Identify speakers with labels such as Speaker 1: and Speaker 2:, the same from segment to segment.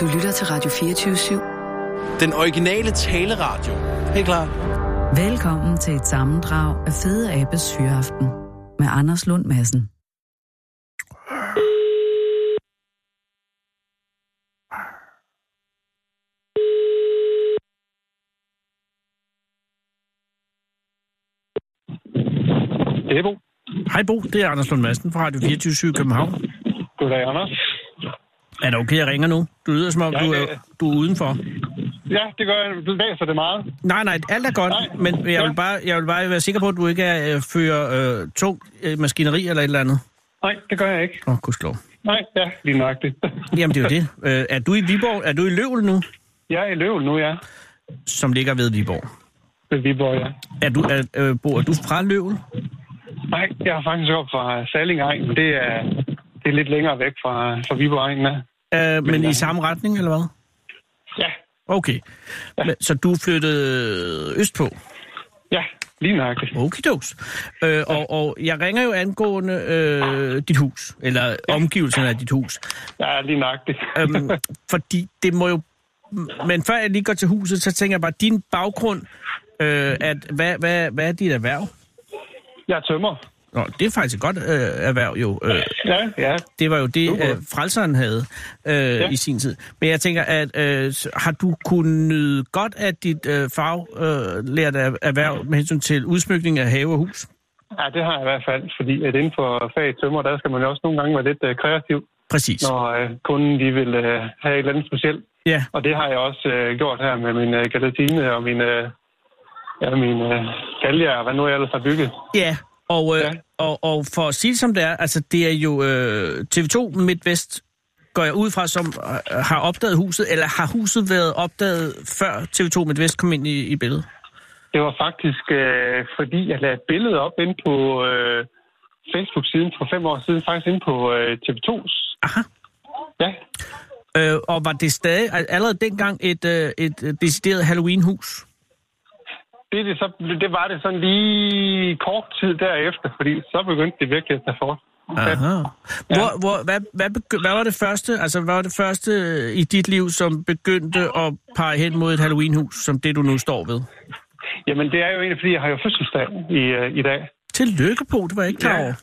Speaker 1: Du lytter til Radio 24-7.
Speaker 2: Den originale taleradio. Helt klar.
Speaker 1: Velkommen til et sammendrag af Fede Abes Hyreaften med Anders Lund Madsen.
Speaker 3: Det er Bo.
Speaker 4: Hej Bo, det er Anders Lund Madsen fra Radio 24 København.
Speaker 3: Goddag, Anders.
Speaker 4: Er det okay, jeg ringer nu? Du lyder som om,
Speaker 3: Ja,
Speaker 4: du er,
Speaker 3: det er-
Speaker 4: du er udenfor.
Speaker 3: Ja, det gør jeg. Du læser det meget.
Speaker 4: Nej, nej, alt er godt,
Speaker 3: Nej,
Speaker 4: men jeg
Speaker 3: ja.
Speaker 4: vil, bare, jeg vil bare være sikker på, at du ikke er, øh, fører øh, tung øh, maskineri eller et eller andet.
Speaker 3: Nej, det gør jeg ikke.
Speaker 4: Åh, oh, gudslov.
Speaker 3: Nej, ja, lige nøjagtigt.
Speaker 4: Jamen, det er jo det. Øh, er du i Viborg? Er du i Løvel nu,
Speaker 3: Jeg er i Løvel nu, ja.
Speaker 4: som ligger ved Viborg?
Speaker 3: Ved Viborg, ja.
Speaker 4: Er du, er, øh, Bo, er du fra Løvel?
Speaker 3: Nej, jeg er faktisk op fra Salingegn. Det er, det er lidt længere væk fra, fra Viborg Egn, ja.
Speaker 4: Øh, men
Speaker 3: nej.
Speaker 4: i samme retning, eller hvad?
Speaker 3: Ja,
Speaker 4: Okay. Men, så du er flyttet østpå?
Speaker 3: ja, lige nøjagtigt.
Speaker 4: Okidoks. Øh, og, og jeg ringer jo angående øh, dit hus, eller omgivelserne af dit hus.
Speaker 3: Ja, lige nøjagtigt.
Speaker 4: Øhm, fordi det må jo... Men før jeg lige går til huset, så tænker jeg bare, din baggrund, øh, at hvad, hvad, hvad er dit erhverv?
Speaker 3: Jeg er tømmer.
Speaker 4: Nå, det er faktisk et godt øh, erhverv jo. Øh,
Speaker 3: Ja, ja.
Speaker 4: det var jo det,
Speaker 3: Super.
Speaker 4: øh, frelseren havde øh, ja. i sin tid. Men jeg tænker, at øh, s- har du kunnet nyde godt af dit øh, faglærte øh, erhverv med hensyn til udsmykning af have og hus?
Speaker 3: ja, det har jeg i hvert fald, fordi at inden for faget tømmer, der skal man jo også nogle gange være lidt øh, kreativ,
Speaker 4: Præcis.
Speaker 3: når øh, kunden de vil øh, have et eller andet specielt.
Speaker 4: Ja.
Speaker 3: Og det har jeg også øh, gjort her med min øh, galatine og min, øh, ja, min øh, galger, og hvad nu jeg ellers har bygget.
Speaker 4: Ja, og, øh, ja.
Speaker 3: Ja.
Speaker 4: Og, og for at sige det, som det er, altså det er jo øh, TV2 MidtVest, går jeg ud fra, som øh, har opdaget huset, eller har huset været opdaget, før TV2 MidtVest kom ind i, i billedet?
Speaker 3: Det var faktisk, øh, fordi jeg lagde et billede op ind på øh, Facebook-siden for fem år siden, faktisk ind på øh, TV2's.
Speaker 4: Aha.
Speaker 3: Ja,
Speaker 4: Øh, og var det stadig al- allerede dengang et, øh, et øh, decideret Halloween-hus?
Speaker 3: det, er det, så, det var det sådan lige kort tid derefter, fordi så begyndte det virkelig at tage for.
Speaker 4: Aha. Hvor, hvor, hvad, hvad, begy- hvad var det første altså, hvad var det første øh, i dit liv, som begyndte at pege hen mod et Halloween-hus, som det du nu står ved?
Speaker 3: Jamen, det er jo egentlig, fordi jeg har jo fødselsdag i, øh, i dag.
Speaker 4: Tillykke på, det var jeg ikke klar
Speaker 3: Ja.
Speaker 4: over.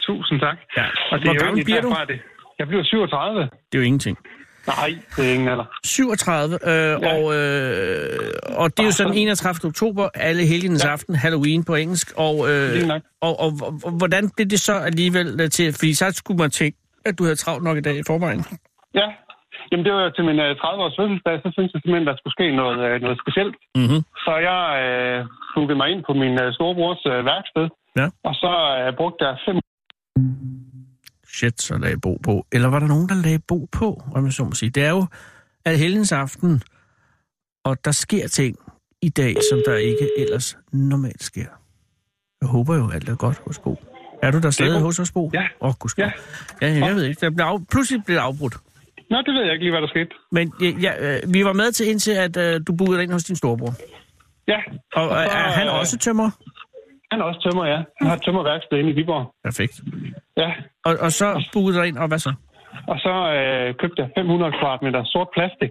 Speaker 3: Tusind tak.
Speaker 4: Ja.
Speaker 3: Og det
Speaker 4: Hvor
Speaker 3: er jo
Speaker 4: gammel
Speaker 3: egentlig
Speaker 4: bliver du?
Speaker 3: derfra, Det. Jeg bliver 37.
Speaker 4: Det er jo ingenting.
Speaker 3: Nej, det er ingen alder.
Speaker 4: 37, øh, ja. og, øh, og det er jo sådan 31. oktober, alle helgens ja. aften, Halloween på engelsk, og, øh,
Speaker 3: Lige nok.
Speaker 4: og, og, og, og hvordan blev det så alligevel øh, til, fordi så skulle man tænke, at du havde travlt nok i dag i forvejen.
Speaker 3: Ja. Jamen, det var jo til min øh, 30-års fødselsdag, så synes jeg simpelthen, der skulle ske noget, øh, noget specielt.
Speaker 4: Mhm.
Speaker 3: Så jeg øh, bookede mig ind på min øh, storebrors øh, værksted,
Speaker 4: Ja.
Speaker 3: og så øh, brugte jeg fem...
Speaker 4: Shit, så lagde Bo på. Eller var der nogen, der lagde Bo på, om jeg så må sige. Det er jo al helgens aften, og der sker ting i dag, som der ikke ellers normalt sker. Jeg håber jo, alt er godt hos Bo. Er du der stadig
Speaker 3: Bo.
Speaker 4: hos os, Bo?
Speaker 3: Ja.
Speaker 4: Åh, oh,
Speaker 3: Ja.
Speaker 4: ja. ja. jeg ved ikke. Der blev af... Pludselig blev det afbrudt.
Speaker 3: Nå, det ved jeg ikke lige, hvad der skete.
Speaker 4: Men øh, ja, øh, vi var med til indtil, at øh, du boede ind hos din storebror.
Speaker 3: Ja,
Speaker 4: Og øh,
Speaker 3: så,
Speaker 4: er han
Speaker 3: øh,
Speaker 4: også tømmer?
Speaker 3: han er også tømmer, ja. Han har et tømmerværksted inde i Viborg.
Speaker 4: Perfekt.
Speaker 3: Ja,
Speaker 4: Og, og så boede der ind, og hvad så?
Speaker 3: og så øh, købte jeg 500 kvadratmeter sort plastik,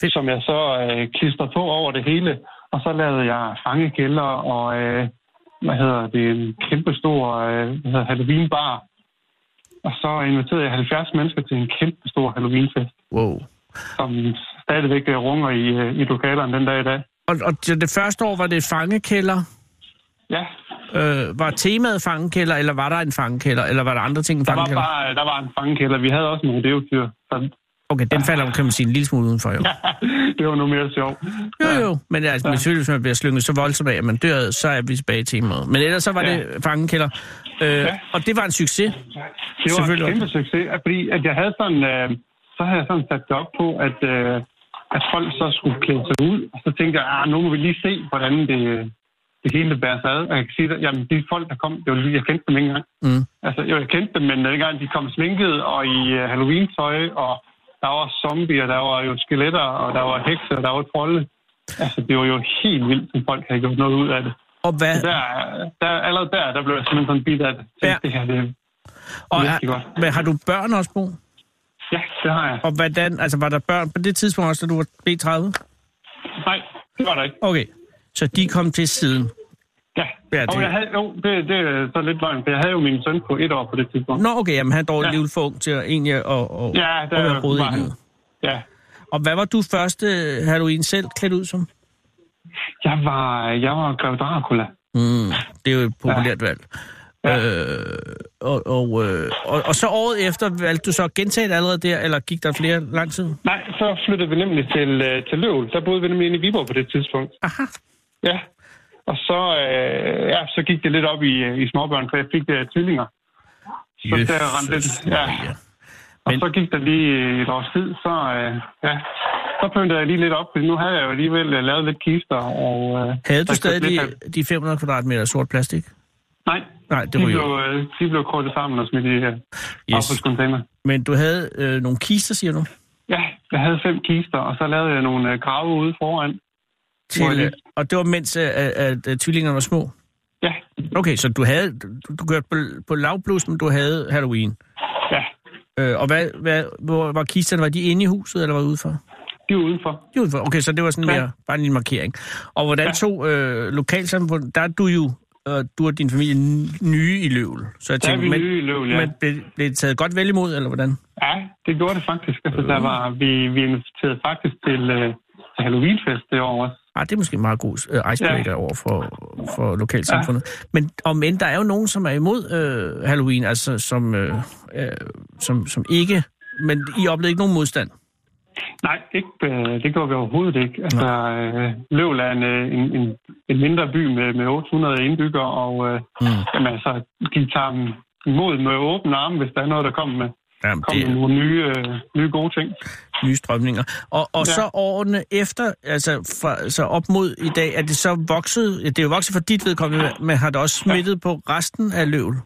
Speaker 4: Fedt.
Speaker 3: som jeg så øh, klistrede på over det hele. Og så lavede jeg fangekælder og, øh, hvad hedder det, en kæmpe stor øh, hvad hedder Halloween-bar. Og så inviterede jeg 70 mennesker til en kæmpe stor Halloween-fest,
Speaker 4: Wow.
Speaker 3: som stadigvæk øh, runger i, øh, i lokalerne den dag i dag.
Speaker 4: Og, og det det første år var det fangekælder.
Speaker 3: Ja,
Speaker 4: Øh, var temaet fangekælder, eller var der en fangekælder, eller var der andre ting end
Speaker 3: der var,
Speaker 4: fangekælder?
Speaker 3: bare, øh, der var en fangekælder. Vi havde også nogle devtyr, så
Speaker 4: Okay, den falder, kan man sige, en lille smule udenfor, jo.
Speaker 3: det var nu mere sjovt.
Speaker 4: Jo, jo, men altså, ja. selvfølgelig, hvis man bliver slynget så voldsomt af, at man dør, så er vi tilbage i temaet. Men ellers så var
Speaker 3: Ja.
Speaker 4: det fangekælder. Øh, ja. Og det var en succes.
Speaker 3: Det var en
Speaker 4: Selvfølgelig.
Speaker 3: kæmpe succes, at- fordi at jeg havde sådan, øh, så havde jeg sådan sat det op på, at, øh, at folk så skulle klæde sig ud. Og så tænkte jeg, ah, nu må vi lige se, hvordan det, det hele bærer sig ad. Og jeg kan sige, at jamen, de folk, der kom, det var lige, jeg kendte dem ikke engang.
Speaker 4: Mm.
Speaker 3: Altså, jo, jeg kendte dem, men dengang de kom sminket og i øh, Halloween-tøj, og der var zombier, der var jo skeletter, og der var hekser, og der var trolde. Altså, det var jo helt vildt, som folk havde gjort noget ud af det.
Speaker 4: Og, hvad,
Speaker 3: Der, der, allerede der, der blev jeg simpelthen sådan bidt af det.
Speaker 4: Ja.
Speaker 3: Ja. Det her, det,
Speaker 4: og
Speaker 3: virkelig
Speaker 4: er,
Speaker 3: godt.
Speaker 4: men har du børn også, Bo?
Speaker 3: Ja, det har jeg.
Speaker 4: Og hvordan, altså var der børn på det tidspunkt også, da du var B30?
Speaker 3: Nej, det var der ikke.
Speaker 4: Okay, så de kom til siden.
Speaker 3: Ja.
Speaker 4: Ja,
Speaker 3: ja det...
Speaker 4: det-
Speaker 3: Og jeg havde, jo, det, det er så lidt løgn, for jeg havde jo min søn på et år på det tidspunkt.
Speaker 4: Nå, okay, jamen han er dog
Speaker 3: Ja.
Speaker 4: alligevel for ung til at, egentlig at, at,
Speaker 3: Ja,
Speaker 4: at
Speaker 3: der
Speaker 4: være rodet
Speaker 3: var
Speaker 4: i
Speaker 3: han.
Speaker 4: livet.
Speaker 3: Ja.
Speaker 4: Og hvad var du første Halloween selv klædt ud som?
Speaker 3: Jeg var, jeg var Grev Dracula.
Speaker 4: Mm, det er jo et populært valg. Øh, og, og, øh, og, og så året efter, valgte du så at gentage det allerede der, eller gik der flere lang tid?
Speaker 3: Nej, så flyttede vi nemlig til, øh, til Løvel. Der boede vi nemlig inde i Viborg på det tidspunkt.
Speaker 4: Aha.
Speaker 3: Ja. Og så, øh, ja, så gik det lidt op i, øh, i småbørn, for jeg fik øh, tvillinger. Så der rendte
Speaker 4: Jesus
Speaker 3: lidt. Ja.
Speaker 4: Maria.
Speaker 3: Og
Speaker 4: Men-
Speaker 3: så gik der lige øh, et års tid, så, øh, ja, så pyntede jeg lige lidt op, fordi nu havde jeg jo alligevel øh, lavet lidt kister. Og, øh,
Speaker 4: Havde du
Speaker 3: der købte
Speaker 4: stadig
Speaker 3: lidt
Speaker 4: de, de 500 kvadratmeter sort plastik?
Speaker 3: af- Nej,
Speaker 4: Nej, det
Speaker 3: de
Speaker 4: var
Speaker 3: blev,
Speaker 4: jo.
Speaker 3: øh, de blev kortet sammen og smidt i øh,
Speaker 4: Yes.
Speaker 3: affaldscontainer.
Speaker 4: Men du havde øh, nogle kister, siger du?
Speaker 3: Ja, jeg havde fem kister, og så lavede jeg nogle øh, grave ude foran.
Speaker 4: Til,
Speaker 3: Hvor-
Speaker 4: øh, og det var mens, øh, at, at, at tvillingerne var små?
Speaker 3: Ja,
Speaker 4: Okay, så du havde, du, du kørte på, på lavblus, men du havde Halloween.
Speaker 3: ja,
Speaker 4: Øh, og hvad, hvad, hvor var kisterne? Var de inde i huset, eller var de udenfor? De
Speaker 3: de er udenfor.
Speaker 4: var udenfor. Okay, så det var sådan
Speaker 3: Ja.
Speaker 4: mere, bare en lille markering. Og hvordan
Speaker 3: Ja.
Speaker 4: tog øh, lokalsamfundet, der er du jo, øh, du og din familie n- nye i Løvel. Så jeg
Speaker 3: Der er
Speaker 4: tænkte,
Speaker 3: vi
Speaker 4: men,
Speaker 3: nye i Løvel, ja.
Speaker 4: men blev, blev det taget godt vel imod, eller hvordan?
Speaker 3: Ja, det gjorde det faktisk. Altså,
Speaker 4: Øh.
Speaker 3: der var, vi, vi inviterede faktisk til, øh, til Halloweenfest det år også.
Speaker 4: Ah, det er måske en meget god øh, icebreaker ja.
Speaker 3: Ja.
Speaker 4: over for, for lokalsamfundet. Ja. Men om end der er jo nogen, som er imod øh, Halloween, altså som, øh, øh, som, som ikke... Men I oplevede ikke nogen modstand?
Speaker 3: Nej, ikke, øh, det gjorde vi overhovedet ikke. Altså, øh, Løvl er en, øh, en, en, en mindre by med, med 800 indbyggere, og øh,
Speaker 4: Mm.
Speaker 3: mm. jamen, altså, de tager dem imod med åbne arme, hvis der er noget, der kommer med,
Speaker 4: Jamen,
Speaker 3: kom
Speaker 4: det
Speaker 3: med
Speaker 4: er
Speaker 3: nogle nye, øh, nye gode ting.
Speaker 4: nye strømninger. Og, og ja.
Speaker 3: Ja.
Speaker 4: så årene efter, altså fra, så op mod i dag, er det så vokset... ja, Det er jo vokset for dit vedkommende, men har det også smittet på resten af løvel?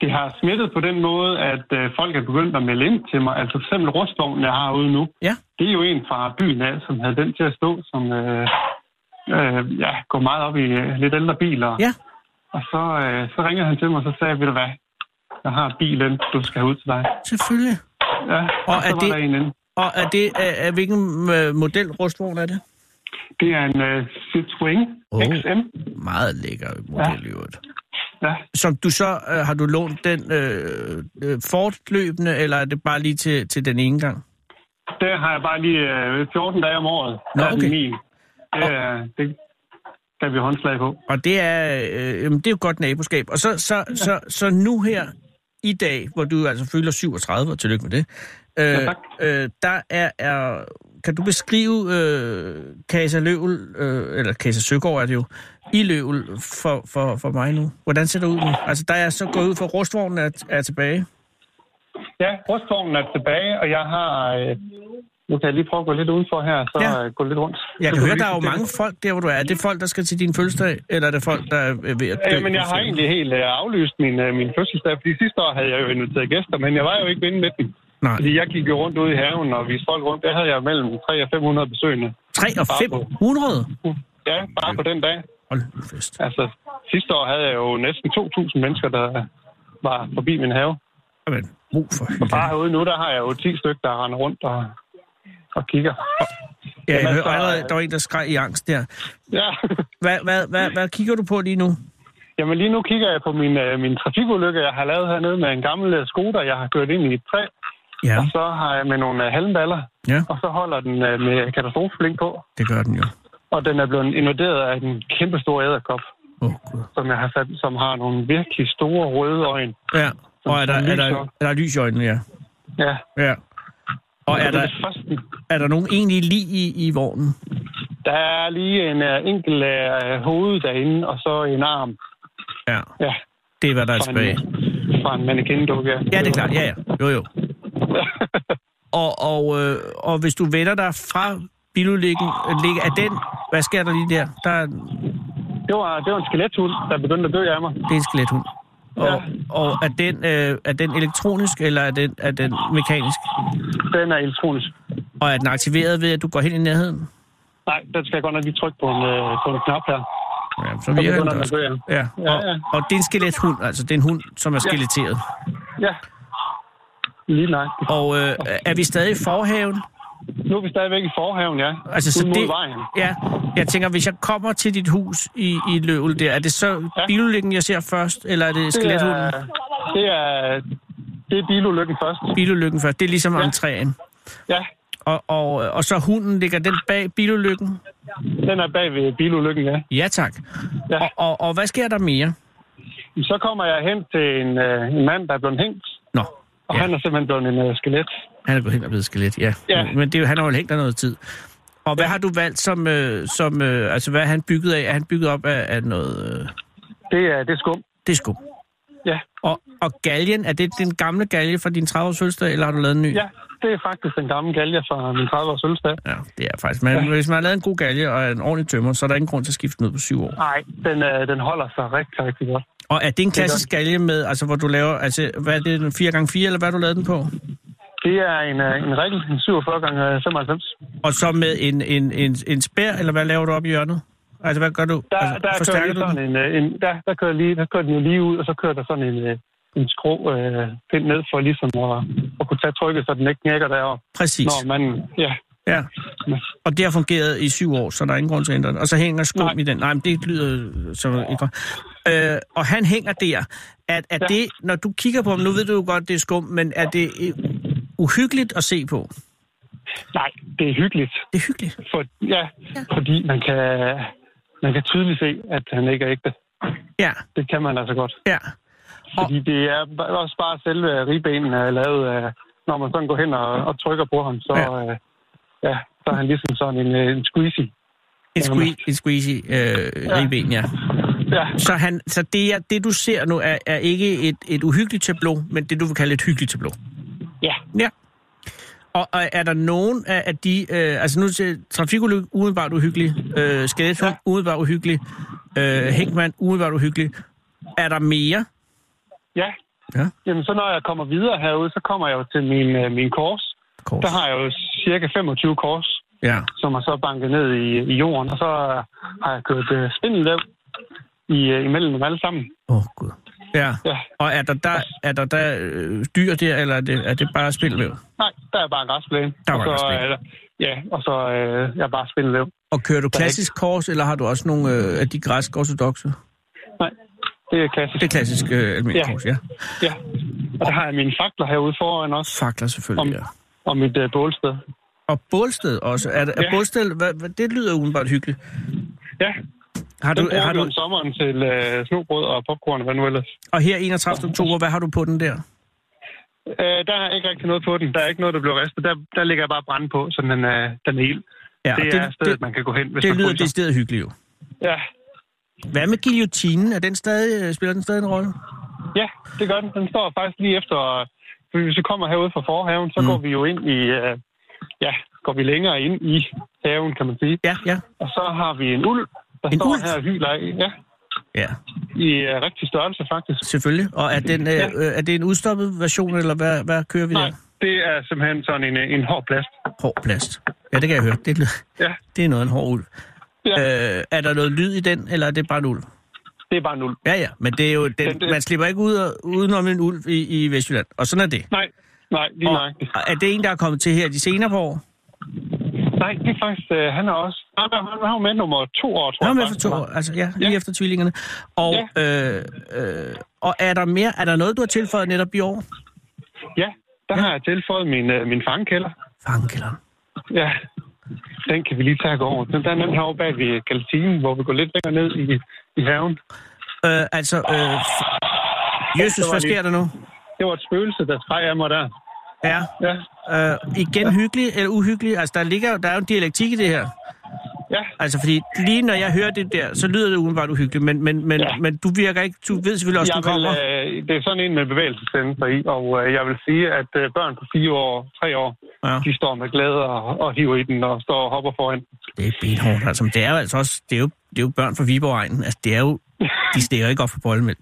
Speaker 3: Det har smittet på den måde, at øh, folk er begyndt at melde ind til mig. Altså for eksempel rustvognen, jeg har ude nu,
Speaker 4: Ja.
Speaker 3: det er jo en fra byen af, som havde den til at stå, som øh, øh, ja, går meget op i øh, lidt ældre biler.
Speaker 4: Ja.
Speaker 3: Og så, øh, så ringede han til mig, og så sagde jeg, ved du hvad, jeg har bilen, du skal have ud til dig.
Speaker 4: Selvfølgelig.
Speaker 3: Ja,
Speaker 4: Og
Speaker 3: og, og så
Speaker 4: er
Speaker 3: var
Speaker 4: det-
Speaker 3: der en inde.
Speaker 4: Og er det... Er, er, hvilken øh, model rustvogn er det?
Speaker 3: Det er en øh, Citroën
Speaker 4: Åh.
Speaker 3: XM.
Speaker 4: Meget lækker model ja. i øvrigt.
Speaker 3: Ja.
Speaker 4: som du så øh, har du lånt den øh, øh, fortløbende, eller er det bare lige til, til den ene gang?
Speaker 3: Der har jeg bare lige øh, 14 dage om året.
Speaker 4: Nå,
Speaker 3: Der er den
Speaker 4: okay.
Speaker 3: Min. Det, er, det gav vi håndslag på.
Speaker 4: Og det er, øh, jamen, det er jo godt naboskab. Og så, så, så, så, nu her i dag, hvor du altså fylder 37, og tillykke med det, øh,
Speaker 3: Ja, tak.
Speaker 4: øh, der er, er, kan du beskrive øh, Casa Løvel, øh, eller Casa Søgaard er det jo, i Løvel for, for, for mig nu? Hvordan ser det ud nu? Altså, der er så gået ud for, at rustvognen er, er tilbage.
Speaker 3: Ja, rustvognen er tilbage, og jeg har... Øh, nu kan jeg lige prøve at gå lidt udenfor her, så
Speaker 4: Ja.
Speaker 3: ja. gå lidt rundt. Så
Speaker 4: Jeg kan
Speaker 3: du
Speaker 4: høre,
Speaker 3: lige
Speaker 4: der er jo
Speaker 3: se det.
Speaker 4: mange folk der, hvor du er. Er det folk, der skal til din fødselsdag, eller er det folk, der er ved at
Speaker 3: Ja, men jeg
Speaker 4: du
Speaker 3: har
Speaker 4: siger?
Speaker 3: egentlig helt øh, aflyst min, øh, min fødselsdag, fordi sidste år havde jeg jo inviteret gæster, men jeg var jo ikke inde med dem.
Speaker 4: Nej,
Speaker 3: Fordi jeg gik jo rundt ude i haven og viste folk rundt. Der havde jeg mellem 300 og 500 besøgende. Uh,
Speaker 4: 3 og 500?
Speaker 3: Ja, bare på den dag.
Speaker 4: Hold nu fest.
Speaker 3: Altså, sidste år havde jeg jo næsten 2.000 mennesker, der var forbi min have.
Speaker 4: Jamen, brug for
Speaker 3: Og
Speaker 4: hylde.
Speaker 3: bare herude nu, der har jeg jo 10 stykker, der render rundt og, og kigger.
Speaker 4: Ja, jeg
Speaker 3: Jamen,
Speaker 4: hører
Speaker 3: altså,
Speaker 4: allerede, der var en, der skreg i angst der.
Speaker 3: Ja,
Speaker 4: Hvad, hvad, hvad, hvad kigger du på lige nu?
Speaker 3: Jamen lige nu kigger jeg på min, øh, min trafikulykke, jeg har lavet hernede med en gammel øh, Skoda, jeg har kørt ind i et træ.
Speaker 4: Ja,
Speaker 3: Og så har jeg med nogle øh, halmballer,
Speaker 4: ja,
Speaker 3: og så holder den øh, med katastrofeblink på.
Speaker 4: det gør den jo.
Speaker 3: Og den er blevet invaderet af en kæmpe stor æderkop,
Speaker 4: Åh, oh, gud.
Speaker 3: som jeg har sat, som har nogle virkelig store røde øjne.
Speaker 4: Ja, og er der, er der, er der lys i øjnene, ja.
Speaker 3: Ja.
Speaker 4: ja. Og er
Speaker 3: det
Speaker 4: der,
Speaker 3: det første.
Speaker 4: er der nogen egentlig lige i, i vognen?
Speaker 3: Der er lige en øh, enkelt øh, hoved derinde, og så en arm.
Speaker 4: Ja,
Speaker 3: Ja,
Speaker 4: det er, hvad der er
Speaker 3: fra
Speaker 4: tilbage.
Speaker 3: en, fra en mannequin-dukke.
Speaker 4: Ja, det er klart. Ja, ja. Jo, jo. Og, og, øh, og hvis du vender dig fra bilulykken, øh, ligger er den... Hvad sker der lige der? Der er,
Speaker 3: Det var, det var en skelethund, der begyndte at dø af mig.
Speaker 4: det er en skelethund. Og, ja. og er, den, øh, er den elektronisk, eller er den, er den mekanisk?
Speaker 3: Den er elektronisk.
Speaker 4: Og er den aktiveret ved, at du går hen i nærheden?
Speaker 3: Nej, den skal jeg godt nok lige trykke på en, øh, på en knap her.
Speaker 4: Ja, så virker den
Speaker 3: begynder
Speaker 4: da
Speaker 3: den at
Speaker 4: også.
Speaker 3: gå,
Speaker 4: Ja,
Speaker 3: Ja,
Speaker 4: og,
Speaker 3: ja.
Speaker 4: og det er en skelethund, altså det er en hund, som er skeletteret.
Speaker 3: Ja, lige nøjagtigt.
Speaker 4: Og øh, er vi stadig i forhaven?
Speaker 3: Nu er vi stadigvæk i forhaven, ja.
Speaker 4: Altså, så
Speaker 3: Ud mod
Speaker 4: det,
Speaker 3: vejen.
Speaker 4: Ja, jeg tænker, hvis jeg kommer til dit hus i, i Løvel der, er det så
Speaker 3: Ja.
Speaker 4: bilulykken, jeg ser først, eller er det
Speaker 3: Det
Speaker 4: skelethunden?
Speaker 3: er, det er, det er bilulykken først.
Speaker 4: Bilulykken først, det er ligesom ja. entréen.
Speaker 3: Ja,
Speaker 4: Og, og, og så hunden, ligger den bag bilulykken?
Speaker 3: den er bag ved bilulykken, ja.
Speaker 4: Ja tak.
Speaker 3: Ja.
Speaker 4: Og, og, og hvad sker der mere?
Speaker 3: Så kommer jeg hen til en, øh, en mand, der er blevet hængt,
Speaker 4: Nå,
Speaker 3: og
Speaker 4: Ja.
Speaker 3: ja. han er simpelthen blevet en øh, skelet.
Speaker 4: han er gået hen og blevet skelet, ja.
Speaker 3: Ja.
Speaker 4: Men det, er jo- han har jo hængt der noget tid. Og hvad har du valgt som, øh, som øh, altså hvad er han bygget af? Er han bygget op af, af noget, øh,
Speaker 3: Det er, det er skum.
Speaker 4: det er skum.
Speaker 3: Ja.
Speaker 4: Og, og galgen, er det den gamle galge fra din 30-års fødselsdag, eller har du lavet en ny?
Speaker 3: ja, det er faktisk den gamle galje fra min 30-års fødselsdag.
Speaker 4: Ja, det er faktisk. Men ja. hvis man har lavet en god galge og en ordentlig tømmer, så er der ingen grund til at skifte den ud på syv år.
Speaker 3: Nej, den, øh, den holder sig rigtig, rigtig godt.
Speaker 4: Og er det en klassisk galge med, altså hvor du laver, altså hvad er det, en 4x4, eller hvad har du lavet den på?
Speaker 3: Det er en, øh, en regel, en 47 gange 95.
Speaker 4: Og så med en, en, en, en spær, eller hvad laver du op i hjørnet? Altså hvad gør du?
Speaker 3: Der,
Speaker 4: altså,
Speaker 3: der, kører
Speaker 4: forstærker
Speaker 3: lige
Speaker 4: du den?
Speaker 3: sådan en, øh, en der, der, kører lige, der kører den jo lige ud, og så kører der sådan en, øh, en skrå øh, pind ned for ligesom at, at kunne tage trykket, så den ikke knækker deroppe.
Speaker 4: Præcis,
Speaker 3: Når man, ja,
Speaker 4: ja. Og det har fungeret i syv år, så der er ingen grund til at ændre den. Og så hænger skum
Speaker 3: Nej.
Speaker 4: i den. Nej, men det lyder som ikke godt. øh, Og han hænger der. At, at ja.
Speaker 3: Ja.
Speaker 4: det, når du kigger på ham, nu ved du jo godt, det er skum, men er det øh, uhyggeligt at se på?
Speaker 3: nej, det er hyggeligt.
Speaker 4: Det er hyggeligt.
Speaker 3: For, ja, fordi man kan, man kan tydeligt se, at han ikke er ægte.
Speaker 4: Ja,
Speaker 3: Det kan man altså godt.
Speaker 4: ja.
Speaker 3: Fordi det er ba- også bare selve ribbenene er lavet af, når man sådan går hen og, og trykker på ham, så,
Speaker 4: Ja.
Speaker 3: ja. Øh, ja, så er han ligesom sådan en, øh, en squeezy.
Speaker 4: En, sque- en squeezy øh, ja. ribben, ja.
Speaker 3: Ja,
Speaker 4: Så, han, så det, er, det, du ser nu, er, er ikke et, et uhyggeligt tableau, men det, du vil kalde et hyggeligt tableau.
Speaker 3: ja.
Speaker 4: Ja. Og, og er der nogen af, af de... Øh, altså nu til trafikulykke, umiddelbart uhyggelig. Øh, Skadeshund, ja. umiddelbart uhyggelig. Øh, Hækman, umiddelbart uhyggelig. Er der mere?
Speaker 3: ja.
Speaker 4: Ja.
Speaker 3: Jamen, så når jeg kommer videre herude, så kommer jeg jo til min, øh, min kors.
Speaker 4: Kors.
Speaker 3: Der har jeg jo cirka 25 kors,
Speaker 4: Ja.
Speaker 3: som er så banket ned i, i jorden, og så øh, har jeg kørt øh, spindelvæv i, øh, imellem dem alle sammen.
Speaker 4: Åh, oh, Gud. Ja.
Speaker 3: Ja.
Speaker 4: Og er der der, er der, der øh, dyr der, eller er det, er det bare spilvæv?
Speaker 3: Nej, der er bare en græsplæne.
Speaker 4: Der er
Speaker 3: Og
Speaker 4: bare en
Speaker 3: så,
Speaker 4: græsplæne.
Speaker 3: øh, Ja, og så øh, jeg er bare spindelvæv.
Speaker 4: Og kører du
Speaker 3: er
Speaker 4: klassisk kors, eller har du også nogle øh, af de græsk ortodoxe?
Speaker 3: Nej, det er klassisk.
Speaker 4: Det er klassisk øh, almindelig ja.
Speaker 3: Ja.
Speaker 4: kors, ja.
Speaker 3: Ja, og der har jeg mine fakler herude foran også,
Speaker 4: Fakler
Speaker 3: Om-
Speaker 4: selvfølgelig, ja.
Speaker 3: og mit øh, bålsted.
Speaker 4: Og bålsted også. Er, er ja.
Speaker 3: Ja.
Speaker 4: bålsted, hvad, hvad, det lyder umiddelbart hyggeligt.
Speaker 3: Ja,
Speaker 4: Har
Speaker 3: den
Speaker 4: du,
Speaker 3: bruger
Speaker 4: har
Speaker 3: vi
Speaker 4: du,
Speaker 3: om sommeren til øh, snobrød og popcorn og hvad nu ellers.
Speaker 4: og her 31. oktober, hvad har du på den der?
Speaker 3: Øh, der er ikke rigtig noget på den. Der er ikke noget, der bliver ristet. Der, der ligger jeg bare brænde på, så den, øh, den er ild.
Speaker 4: Ja,
Speaker 3: Ja,
Speaker 4: og
Speaker 3: det, det er stedet,
Speaker 4: det,
Speaker 3: man kan gå hen, hvis
Speaker 4: det
Speaker 3: man
Speaker 4: lyder
Speaker 3: fryser.
Speaker 4: decideret hyggeligt jo.
Speaker 3: Ja.
Speaker 4: Hvad med guillotinen? Er den stadig, øh, spiller den stadig en rolle?
Speaker 3: ja, det gør den. Den står faktisk lige efter... øh, fordi Hvis vi kommer herude fra forhaven, så
Speaker 4: Mm.
Speaker 3: mm. går vi jo ind i... Øh, ja, går vi længere ind i haven, kan man sige.
Speaker 4: Ja, ja.
Speaker 3: Og så har vi en uld, der
Speaker 4: En
Speaker 3: står
Speaker 4: ulv?
Speaker 3: her og hyler af. Ja,
Speaker 4: Ja,
Speaker 3: i øh, rigtig størrelse faktisk.
Speaker 4: selvfølgelig. Og er, den, øh,
Speaker 3: Ja.
Speaker 4: øh, er det en udstoppet version, eller hvad, hvad kører vi
Speaker 3: Nej,
Speaker 4: der?
Speaker 3: det er simpelthen sådan en, øh, en hård plast.
Speaker 4: Hård plast. Ja, det kan jeg høre. Det, lyder,
Speaker 3: Ja,
Speaker 4: det er noget af en hård uld.
Speaker 3: ja øh.
Speaker 4: Øh, er der noget lyd i den, eller er det bare en uld?
Speaker 3: det er bare en uld.
Speaker 4: Ja, ja, men det er jo den,
Speaker 3: Men det-
Speaker 4: man slipper ikke ud og, udenom en ulv i, i Vestjylland, og sådan er det.
Speaker 3: Nej, nej, lige
Speaker 4: Og,
Speaker 3: nej.
Speaker 4: og er det en, der er kommet til her de senere på år?
Speaker 3: Nej, det er faktisk, øh, han er også... Nej, han han var med nummer to år, tror
Speaker 4: Nå,
Speaker 3: jeg.
Speaker 4: men for
Speaker 3: faktisk,
Speaker 4: to
Speaker 3: han var.
Speaker 4: år, altså ja, lige ja.
Speaker 3: Ja.
Speaker 4: efter tvillingerne. Og, ja. øh, øh, og er der mere, er der noget, du har tilføjet netop i år?
Speaker 3: Ja, der har jeg tilføjet min, øh, min fangekælder.
Speaker 4: Fangekælderen.
Speaker 3: Ja, den kan vi lige tage og gå over. Den der er den herovre bag ved kantinen, hvor vi går lidt længere ned i, i haven.
Speaker 4: Øh, altså, øh, f- Jesus,
Speaker 3: var
Speaker 4: hvad
Speaker 3: lige-
Speaker 4: sker der nu?
Speaker 3: Det var et spøgelse, der skrev af mig der.
Speaker 4: Ja,
Speaker 3: Ja,
Speaker 4: øh, igen hyggelig eller uhyggelig? Altså, der, ligger, jo- der er jo en dialektik i det her.
Speaker 3: ja,
Speaker 4: Altså, fordi lige når jeg hører det der, så lyder det udenbart uhyggeligt, men, men, men, ja.
Speaker 3: Ja.
Speaker 4: men du virker ikke, du ved selvfølgelig også,
Speaker 3: jeg
Speaker 4: du
Speaker 3: vil,
Speaker 4: kommer.
Speaker 3: øh, det er sådan en med bevægelsessensorer i, og øh, jeg vil sige, at øh, børn på fire år, tre år,
Speaker 4: Ja.
Speaker 3: de står med glæde og, og hiver i den og står og hopper foran.
Speaker 4: Det er benhårdt, altså. Men det er jo altså også, det er jo, det er jo børn fra Viborg-egnen. Altså, det er jo, de stikker ikke op for bollemælk.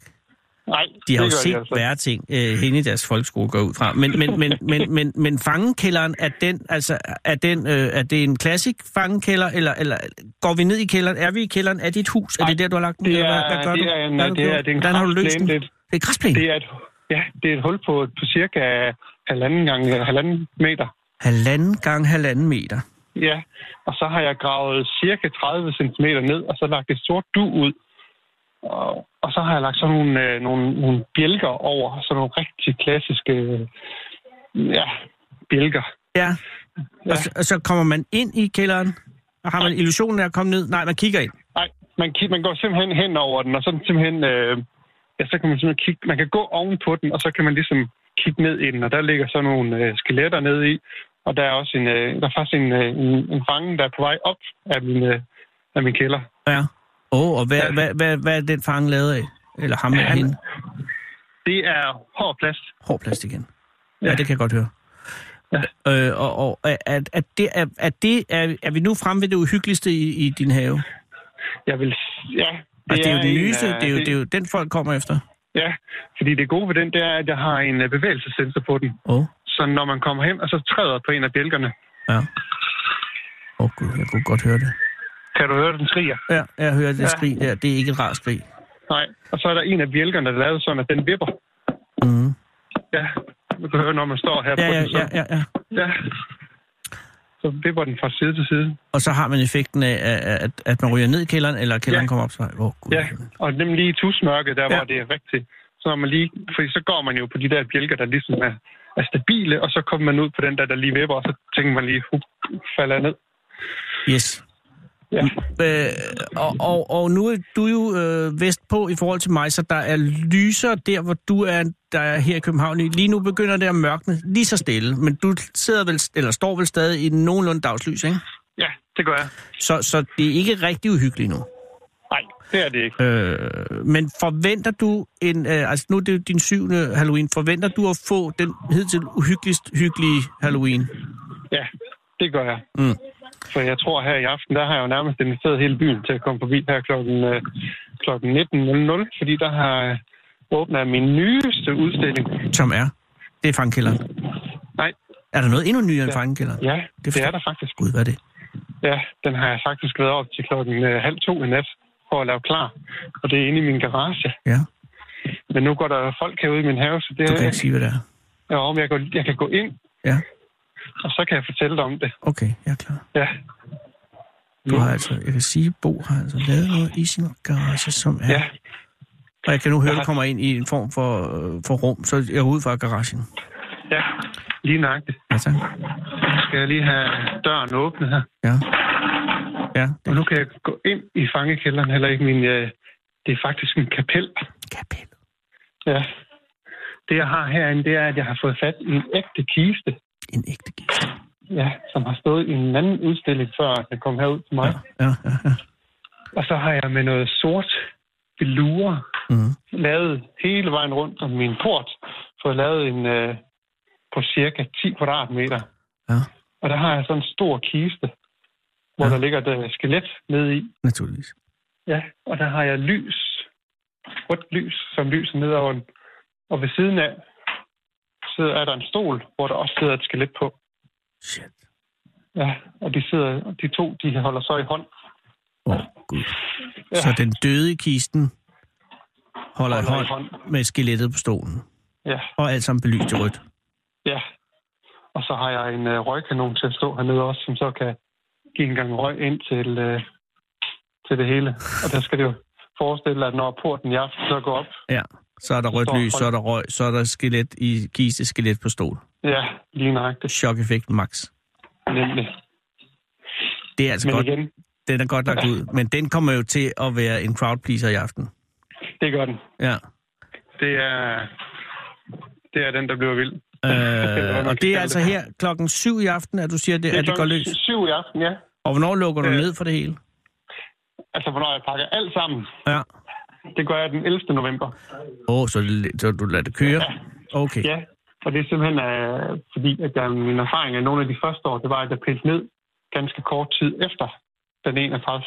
Speaker 3: Nej,
Speaker 4: De har jo
Speaker 3: det gør
Speaker 4: set
Speaker 3: altså.
Speaker 4: værre ting øh, hen i deres folkeskole går jeg ud fra. Men, men, men, men, men, men fangekælderen, er, den, altså, er, den, øh, er det en klassik fangekælder, eller, eller går vi ned i kælderen? Er vi i kælderen? Er dit hus? Er det der, du har lagt den?
Speaker 3: det
Speaker 4: eller
Speaker 3: er-
Speaker 4: hvad, hvad gør
Speaker 3: det
Speaker 4: du?
Speaker 3: er en-
Speaker 4: Hvad har du
Speaker 3: det er-
Speaker 4: gjort?
Speaker 3: det er en
Speaker 4: Hvordan har du løst
Speaker 3: græsplæne
Speaker 4: den? Det
Speaker 3: lidt.
Speaker 4: er græsplæne?
Speaker 3: Det er et, ja, det er et hul på, på cirka halvanden gange eller halvanden meter.
Speaker 4: Halvanden gang halvanden meter.
Speaker 3: Ja, og så har jeg gravet cirka 30 cm ned, og så lagt et sort du ud. Og, og så har jeg lagt sådan nogle, øh, nogle, nogle bjælker over, sådan nogle rigtig klassiske øh, ja, bjælker.
Speaker 4: Ja.
Speaker 3: Ja.
Speaker 4: Og, så, og så kommer man ind i kælderen, og har man illusionen af at komme ned? Nej, man kigger ind.
Speaker 3: Nej, man, ki- man går simpelthen hen over den, og så er den simpelthen, øh, ja, så kan man simpelthen kigge, man kan gå ovenpå den, og så kan man ligesom kigge ned i den, og der ligger så nogle øh, skeletter nede i, og der er også en, øh, der er faktisk en, øh, en, en fange, der er på vej op af min, øh, af min kælder.
Speaker 4: Ja. Åh, oh, og hvad,
Speaker 3: Ja.
Speaker 4: hvad, hvad, hvad er den fange lavet af? Eller ham eller
Speaker 3: Han-
Speaker 4: hende?
Speaker 3: Det er hård plast.
Speaker 4: Hård plast igen. Ja,
Speaker 3: Ja.
Speaker 4: det kan jeg godt høre. Ja. Øh, og og er, er, er, det, er, er, det, er, er vi nu fremme ved det uhyggeligste i, i din have? Det
Speaker 3: Jeg vil, s- ja,
Speaker 4: og det er jo det
Speaker 3: en,
Speaker 4: nyeste,
Speaker 3: øh,
Speaker 4: det, er jo, det er jo den folk kommer efter.
Speaker 3: Ja, fordi det gode ved den, det er, at jeg har en øh, bevægelsessensor på den.
Speaker 4: Åh, oh,
Speaker 3: Så når man kommer hen og så træder på en af bjælkerne,
Speaker 4: ja. Åh oh, gud, jeg kunne godt høre det.
Speaker 3: kan du høre, den skriger.
Speaker 4: Ja, jeg hører det ja.
Speaker 3: Ja.
Speaker 4: skrig der. Det er ikke et rart skrig.
Speaker 3: Nej, og så er der en af bjælkerne, der er lavet sådan, at den vipper.
Speaker 4: Mm.
Speaker 3: Ja, man kan høre, når man står her
Speaker 4: Ja,
Speaker 3: på
Speaker 4: ja,
Speaker 3: den. Så,
Speaker 4: ja, ja, ja.
Speaker 3: ja. Så vipper den fra side til side.
Speaker 4: Og så har man effekten af, at, at- at man ryger ned i kælderen, eller kælderen ja.
Speaker 3: Ja.
Speaker 4: kommer op. Så, åh, oh, gud.
Speaker 3: Ja, og nemlig lige i tusmørket, der
Speaker 4: Ja.
Speaker 3: ja. hvor det er rigtigt. Så når man lige, fordi så går man jo på de der bjælker, der ligesom er, er stabile, og så kommer man ud på den der, der lige vipper, og så tænker man lige, hup, falder jeg ned.
Speaker 4: Yes.
Speaker 3: Ja.
Speaker 4: Øh, og, og, og nu er du jo øh, vestpå i forhold til mig, så der er lyser der, hvor du er, der er her i København. Lige nu begynder det at mørkne lige så stille, men du sidder vel, eller står vel stadig i nogenlunde dagslys, ikke?
Speaker 3: ja, det gør jeg.
Speaker 4: Så, så det er ikke rigtig uhyggeligt nu.
Speaker 3: Nej, det er det ikke.
Speaker 4: Øh, men forventer du en, øh, altså nu er det jo din syvende Halloween, forventer du at få den hidtil uhyggeligst hyggelige Halloween?
Speaker 3: Ja, det gør jeg.
Speaker 4: Mm.
Speaker 3: For jeg tror her i aften, der har jeg jo nærmest inviteret hele byen til at komme forbi her klokken, øh, klokken 19.00, fordi der har øh, åbnet jeg min nyeste udstilling.
Speaker 4: Som er? Det er fangekælderen.
Speaker 3: Nej,
Speaker 4: Er der noget endnu nyere end
Speaker 3: Ja.
Speaker 4: fangekælderen?
Speaker 3: ja,
Speaker 4: Det er
Speaker 3: det, det er
Speaker 4: flot.
Speaker 3: der faktisk.
Speaker 4: Gud, hvad er det?
Speaker 3: Ja, den har jeg faktisk været op til klokken øh, halv to i nat for at lave klar. Og det er inde i min garage.
Speaker 4: Ja,
Speaker 3: Men nu går der folk herude i min have, så det
Speaker 4: du kan
Speaker 3: er...
Speaker 4: ikke sige, hvad det er.
Speaker 3: Ja, om jeg, går, jeg kan gå ind,
Speaker 4: Ja,
Speaker 3: og så kan jeg fortælle dig om det.
Speaker 4: okay, jeg er klar.
Speaker 3: Ja,
Speaker 4: Du har altså, jeg kan sige, Bo har altså lavet noget i sin garage, som er...
Speaker 3: ja,
Speaker 4: Og jeg kan nu høre,
Speaker 3: Jeg
Speaker 4: du
Speaker 3: har-
Speaker 4: kommer ind i en form for, øh, for rum, så jeg er ude fra garagen.
Speaker 3: ja. Lige nøjagtigt.
Speaker 4: Ja, tak.
Speaker 3: Nu skal jeg lige have døren åbnet her.
Speaker 4: Ja. Ja, det
Speaker 3: Og nu kan jeg gå ind i fangekælderen, heller ikke min... Øh, det er faktisk en kapel.
Speaker 4: er kapellet.
Speaker 3: Ja. Det, jeg har herinde, det er, at jeg har fået fat i en ægte kiste,
Speaker 4: En ægte gæst.
Speaker 3: ja, som har stået i en anden udstilling, før jeg kom herud til mig.
Speaker 4: Ja,
Speaker 3: Ja.
Speaker 4: ja, ja. ja.
Speaker 3: Og så har jeg med noget sort velure
Speaker 4: Mm.
Speaker 3: lavet hele vejen rundt om min port, fået lavet en øh, på cirka 10 kvadratmeter.
Speaker 4: Ja.
Speaker 3: Og der har jeg sådan en stor kiste, hvor
Speaker 4: Ja.
Speaker 3: ja. der ligger et øh, skelet nede i.
Speaker 4: Naturligvis.
Speaker 3: Ja, og der har jeg lys, rødt lys, som lyser ned over den. Og ved siden af sidder, er der en stol, hvor der også sidder et skelet på.
Speaker 4: Shit.
Speaker 3: Ja, og de, sidder, og de to de holder så i hånd.
Speaker 4: Åh, oh, gud.
Speaker 3: Ja.
Speaker 4: Så den døde i kisten holder i
Speaker 3: Holder i
Speaker 4: hånd med skelettet på stolen.
Speaker 3: Ja,
Speaker 4: Og alt sammen belyst i rødt.
Speaker 3: ja. Og så har jeg en øh, røgkanon til at stå hernede også, som så kan give en gang røg ind til, øh, til det hele. Og der skal det jo forestille dig, at når porten i aften så går op,
Speaker 4: Ja. Så er der rødt
Speaker 3: Står
Speaker 4: lys,
Speaker 3: folk-
Speaker 4: så er der røg, så er der skelet i kiste, skelet på stol.
Speaker 3: ja, lige nøjagtigt,
Speaker 4: Chok-effekt max.
Speaker 3: nemlig.
Speaker 4: Det er altså
Speaker 3: Men
Speaker 4: godt.
Speaker 3: igen,
Speaker 4: Den er godt lagt ud. Men den kommer jo til at være en crowd pleaser i aften.
Speaker 3: det gør den.
Speaker 4: Ja.
Speaker 3: Det er, det er den, der bliver vild.
Speaker 4: Øh, og det er altså her klokken 7 i aften, at du siger, det, at det går
Speaker 3: klokken
Speaker 4: løs.
Speaker 3: Syv i aften, ja.
Speaker 4: Og hvornår lukker du
Speaker 3: Øh.
Speaker 4: ned for det hele?
Speaker 3: Altså, hvornår jeg pakker alt sammen.
Speaker 4: Ja.
Speaker 3: Det gør jeg den 11. november.
Speaker 4: Åh, oh, så, er det lidt- så du lader det køre? Okay.
Speaker 3: Ja, og det er simpelthen øh, fordi, at jeg, min erfaring af nogle af de første år, det var, at jeg pillede ned ganske kort tid efter den 31.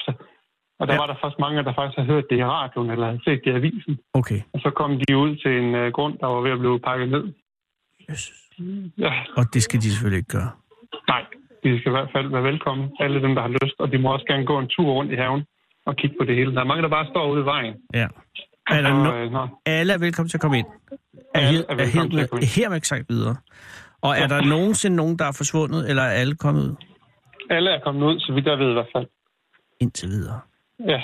Speaker 3: Og der
Speaker 4: Ja.
Speaker 3: ja. var der faktisk mange, der faktisk havde hørt det i radioen, eller havde set det i avisen.
Speaker 4: Okay.
Speaker 3: Og så kom de ud til en øh, grund, der var ved at blive pakket ned.
Speaker 4: Jesus.
Speaker 3: Ja,
Speaker 4: Og det skal de selvfølgelig ikke gøre.
Speaker 3: nej. De skal i hvert fald være velkommen, alle dem, der har lyst. Og de må også gerne gå en tur rundt i haven og kigge på det hele. Der er mange, der bare står ude i vejen.
Speaker 4: Ja. Er der
Speaker 3: Og,
Speaker 4: no-
Speaker 3: øh, nå,
Speaker 4: alle er velkommen til at komme ind. Er,
Speaker 3: Alle
Speaker 4: her,
Speaker 3: er
Speaker 4: er
Speaker 3: velkommen til at komme
Speaker 4: her,
Speaker 3: ind.
Speaker 4: her med sagt videre. Og er der nogensinde nogen, der er forsvundet, eller er alle kommet ud?
Speaker 3: Alle er kommet ud, så vidt jeg ved i hvert fald.
Speaker 4: Indtil videre.
Speaker 3: Ja.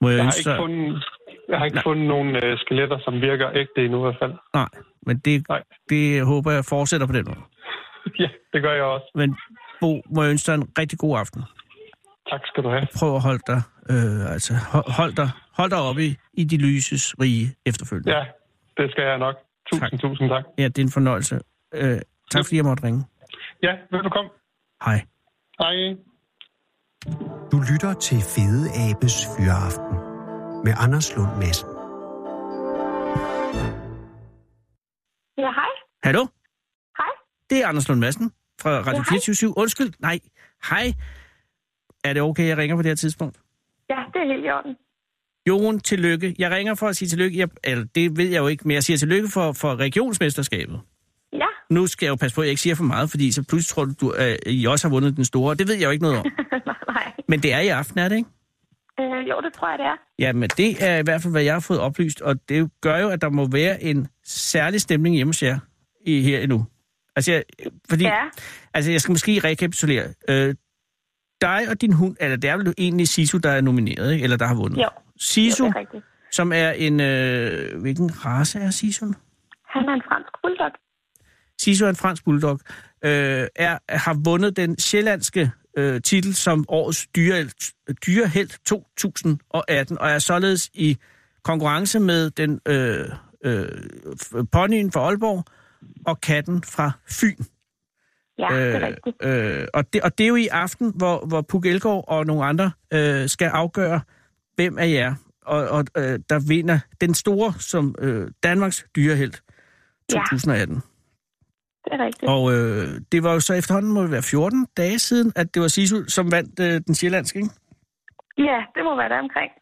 Speaker 4: Må jeg,
Speaker 3: Jeg har
Speaker 4: ønske
Speaker 3: ikke
Speaker 4: dig...
Speaker 3: fundet, jeg har ikke
Speaker 4: Nej.
Speaker 3: fundet nogen øh, skeletter, som virker ægte endnu i hvert fald.
Speaker 4: Nej, men det,
Speaker 3: Nej.
Speaker 4: det håber jeg fortsætter på den måde.
Speaker 3: Ja, det gør jeg også.
Speaker 4: Men Bo, må jeg ønske dig en rigtig god aften.
Speaker 3: Tak skal du have.
Speaker 4: Prøv at holde dig, øh, altså, hold, hold dig, hold dig oppe i, i de lyses rige efterfølgende.
Speaker 3: Ja, det skal jeg nok. Tusind,
Speaker 4: Tak.
Speaker 3: tak. tusind tak.
Speaker 4: ja det er en fornøjelse. Øh, tak fordi jeg måtte ringe.
Speaker 3: Ja, velkommen.
Speaker 4: Hej.
Speaker 3: Hej.
Speaker 5: Du lytter til Fede Abes Fyraften med Anders Lund Madsen.
Speaker 6: Ja, hej.
Speaker 4: Hallo?
Speaker 6: Hej.
Speaker 4: Det er Anders Lund Madsen fra Radio
Speaker 6: Ja, hej.
Speaker 4: 24 Undskyld, nej. Hej. Er det okay, jeg ringer på det her tidspunkt?
Speaker 6: Ja, det er helt i orden.
Speaker 4: Jon, tillykke. Jeg ringer for at sige tillykke. Jeg, eller, det ved jeg jo ikke, men jeg siger tillykke for, for regionsmesterskabet.
Speaker 6: Ja,
Speaker 4: Nu skal jeg jo passe på, at jeg ikke siger for meget, fordi så pludselig tror du, du øh, I også har vundet den store. Det ved jeg jo ikke noget om.
Speaker 6: nej.
Speaker 4: Men det er i aften, er det ikke?
Speaker 6: Øh, jo, det tror jeg, det er.
Speaker 4: Jamen, det er i hvert fald, hvad jeg har fået oplyst, og det gør jo, at der må være en særlig stemning hjemme hos jer i, her endnu. Altså, jeg, fordi,
Speaker 6: Ja.
Speaker 4: altså, jeg skal måske rekapitulere. Øh, dig og din hund, eller det er vel egentlig Sisu, der er nomineret, ikke? eller der har vundet?
Speaker 6: Jo.
Speaker 4: Sisu,
Speaker 6: Jo, det er rigtigt.
Speaker 4: som er en... Øh, hvilken race er Sisu?
Speaker 6: Han er en fransk bulldog.
Speaker 4: Sisu er en fransk bulldog, øh, er, har vundet den sjællandske øh, titel som årets dyre, dyrehelt 2018, og er således i konkurrence med den øh, øh, f- ponyen fra Aalborg og katten fra Fyn.
Speaker 6: Ja, øh, det er rigtigt.
Speaker 4: øh, og, det, og det er jo i aften, hvor, hvor Puk Elgård og nogle andre øh, skal afgøre, hvem af jer, og, og, øh, der vinder den store som øh, Danmarks dyrehelt
Speaker 6: Ja.
Speaker 4: 2018.
Speaker 6: Det er rigtigt.
Speaker 4: Og øh, det var jo så efterhånden, må det være 14 dage siden, at det var Sisu, som vandt øh, den sjællandske, ikke?
Speaker 6: Ja, det må være der omkring.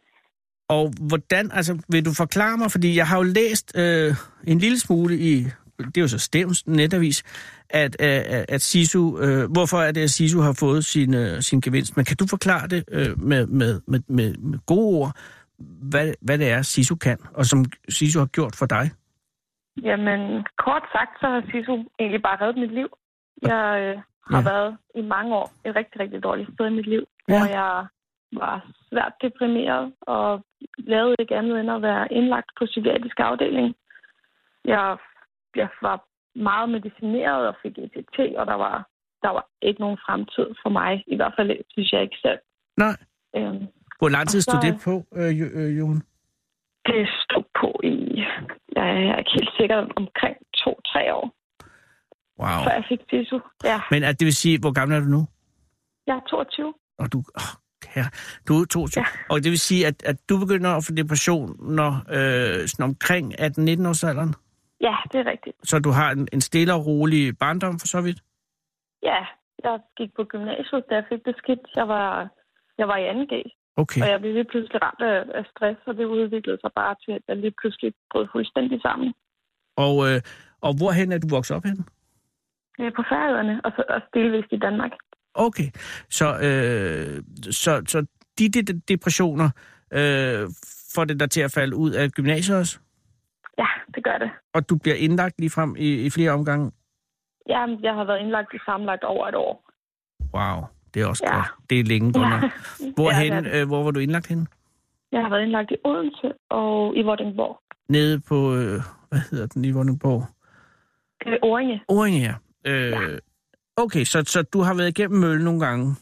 Speaker 4: Og hvordan, altså vil du forklare mig, fordi jeg har jo læst øh, en lille smule i, det er jo så Stevns netavis, at, øh, at Sisu, øh, hvorfor er det, at Sisu har fået sin, øh, sin gevinst? Men kan du forklare det øh, med, med, med, med, med gode ord, hvad, hvad det er, Sisu kan, og som Sisu har gjort for dig?
Speaker 6: Jamen, kort sagt, så har Sisu egentlig bare reddet mit liv. Jeg øh, har
Speaker 4: Ja.
Speaker 6: ja. været i mange år et rigtig, rigtig dårligt sted i mit liv,
Speaker 4: Ja.
Speaker 6: ja. hvor jeg var svært deprimeret og lavede ikke andet end at være indlagt på psykiatrisk afdeling. Jeg, jeg var meget medicineret og fik ECT, og der var, der var ikke nogen fremtid for mig. I hvert fald synes jeg ikke selv.
Speaker 4: Nej.
Speaker 6: Øhm,
Speaker 4: Hvor lang tid
Speaker 6: Og
Speaker 4: stod
Speaker 6: så-
Speaker 4: det på, øh, Jo- øh, Jon?
Speaker 6: det stod på i, jeg er ikke helt sikker, omkring to-tre år,
Speaker 4: Wow.
Speaker 6: før jeg fik TISU. Ja,
Speaker 4: Men at det vil sige, hvor gammel er du nu?
Speaker 6: jeg er 22.
Speaker 4: og du, oh, kære, du er 22. Ja.
Speaker 6: Ja.
Speaker 4: Og det vil sige, at, at du begynder at få depression når, øh, sådan omkring 18-19 års alderen,
Speaker 6: Ja, det er rigtigt.
Speaker 4: så du har en, en stille og rolig barndom for så vidt.
Speaker 6: Ja, jeg gik på gymnasiet, da jeg fik det skidt. Jeg var, jeg var i 2G,
Speaker 4: Okay,
Speaker 6: og jeg blev lige pludselig ramt af, af stress, og det udviklede sig bare til, at jeg lige pludselig brød fuldstændig sammen
Speaker 4: og, øh, og hvorhen er du vokset op hen?
Speaker 6: øh, på færøerne, og så også delvist i Danmark.
Speaker 4: Okay, så, øh, så, så de, de, de depressioner øh, får det dig til at falde ud af gymnasiet også,
Speaker 6: Ja, det gør det.
Speaker 4: og du bliver indlagt lige frem i, i flere omgange.
Speaker 6: Ja, jeg har været indlagt i sammenlagt over et år.
Speaker 4: Wow, det er også ja.
Speaker 6: Ja.
Speaker 4: godt. Det er længe godt nok.
Speaker 6: Ja,
Speaker 4: Hvorhen,
Speaker 6: det er
Speaker 4: øh, hvor var du indlagt henne?
Speaker 6: Jeg har været indlagt i Odense og i Vordingborg.
Speaker 4: Nede på, øh, hvad hedder den i Vordingborg?
Speaker 6: Øh, Oringe.
Speaker 4: Oringe, ja. Øh, ja. Okay, så, så du har været igennem møllen nogle gange.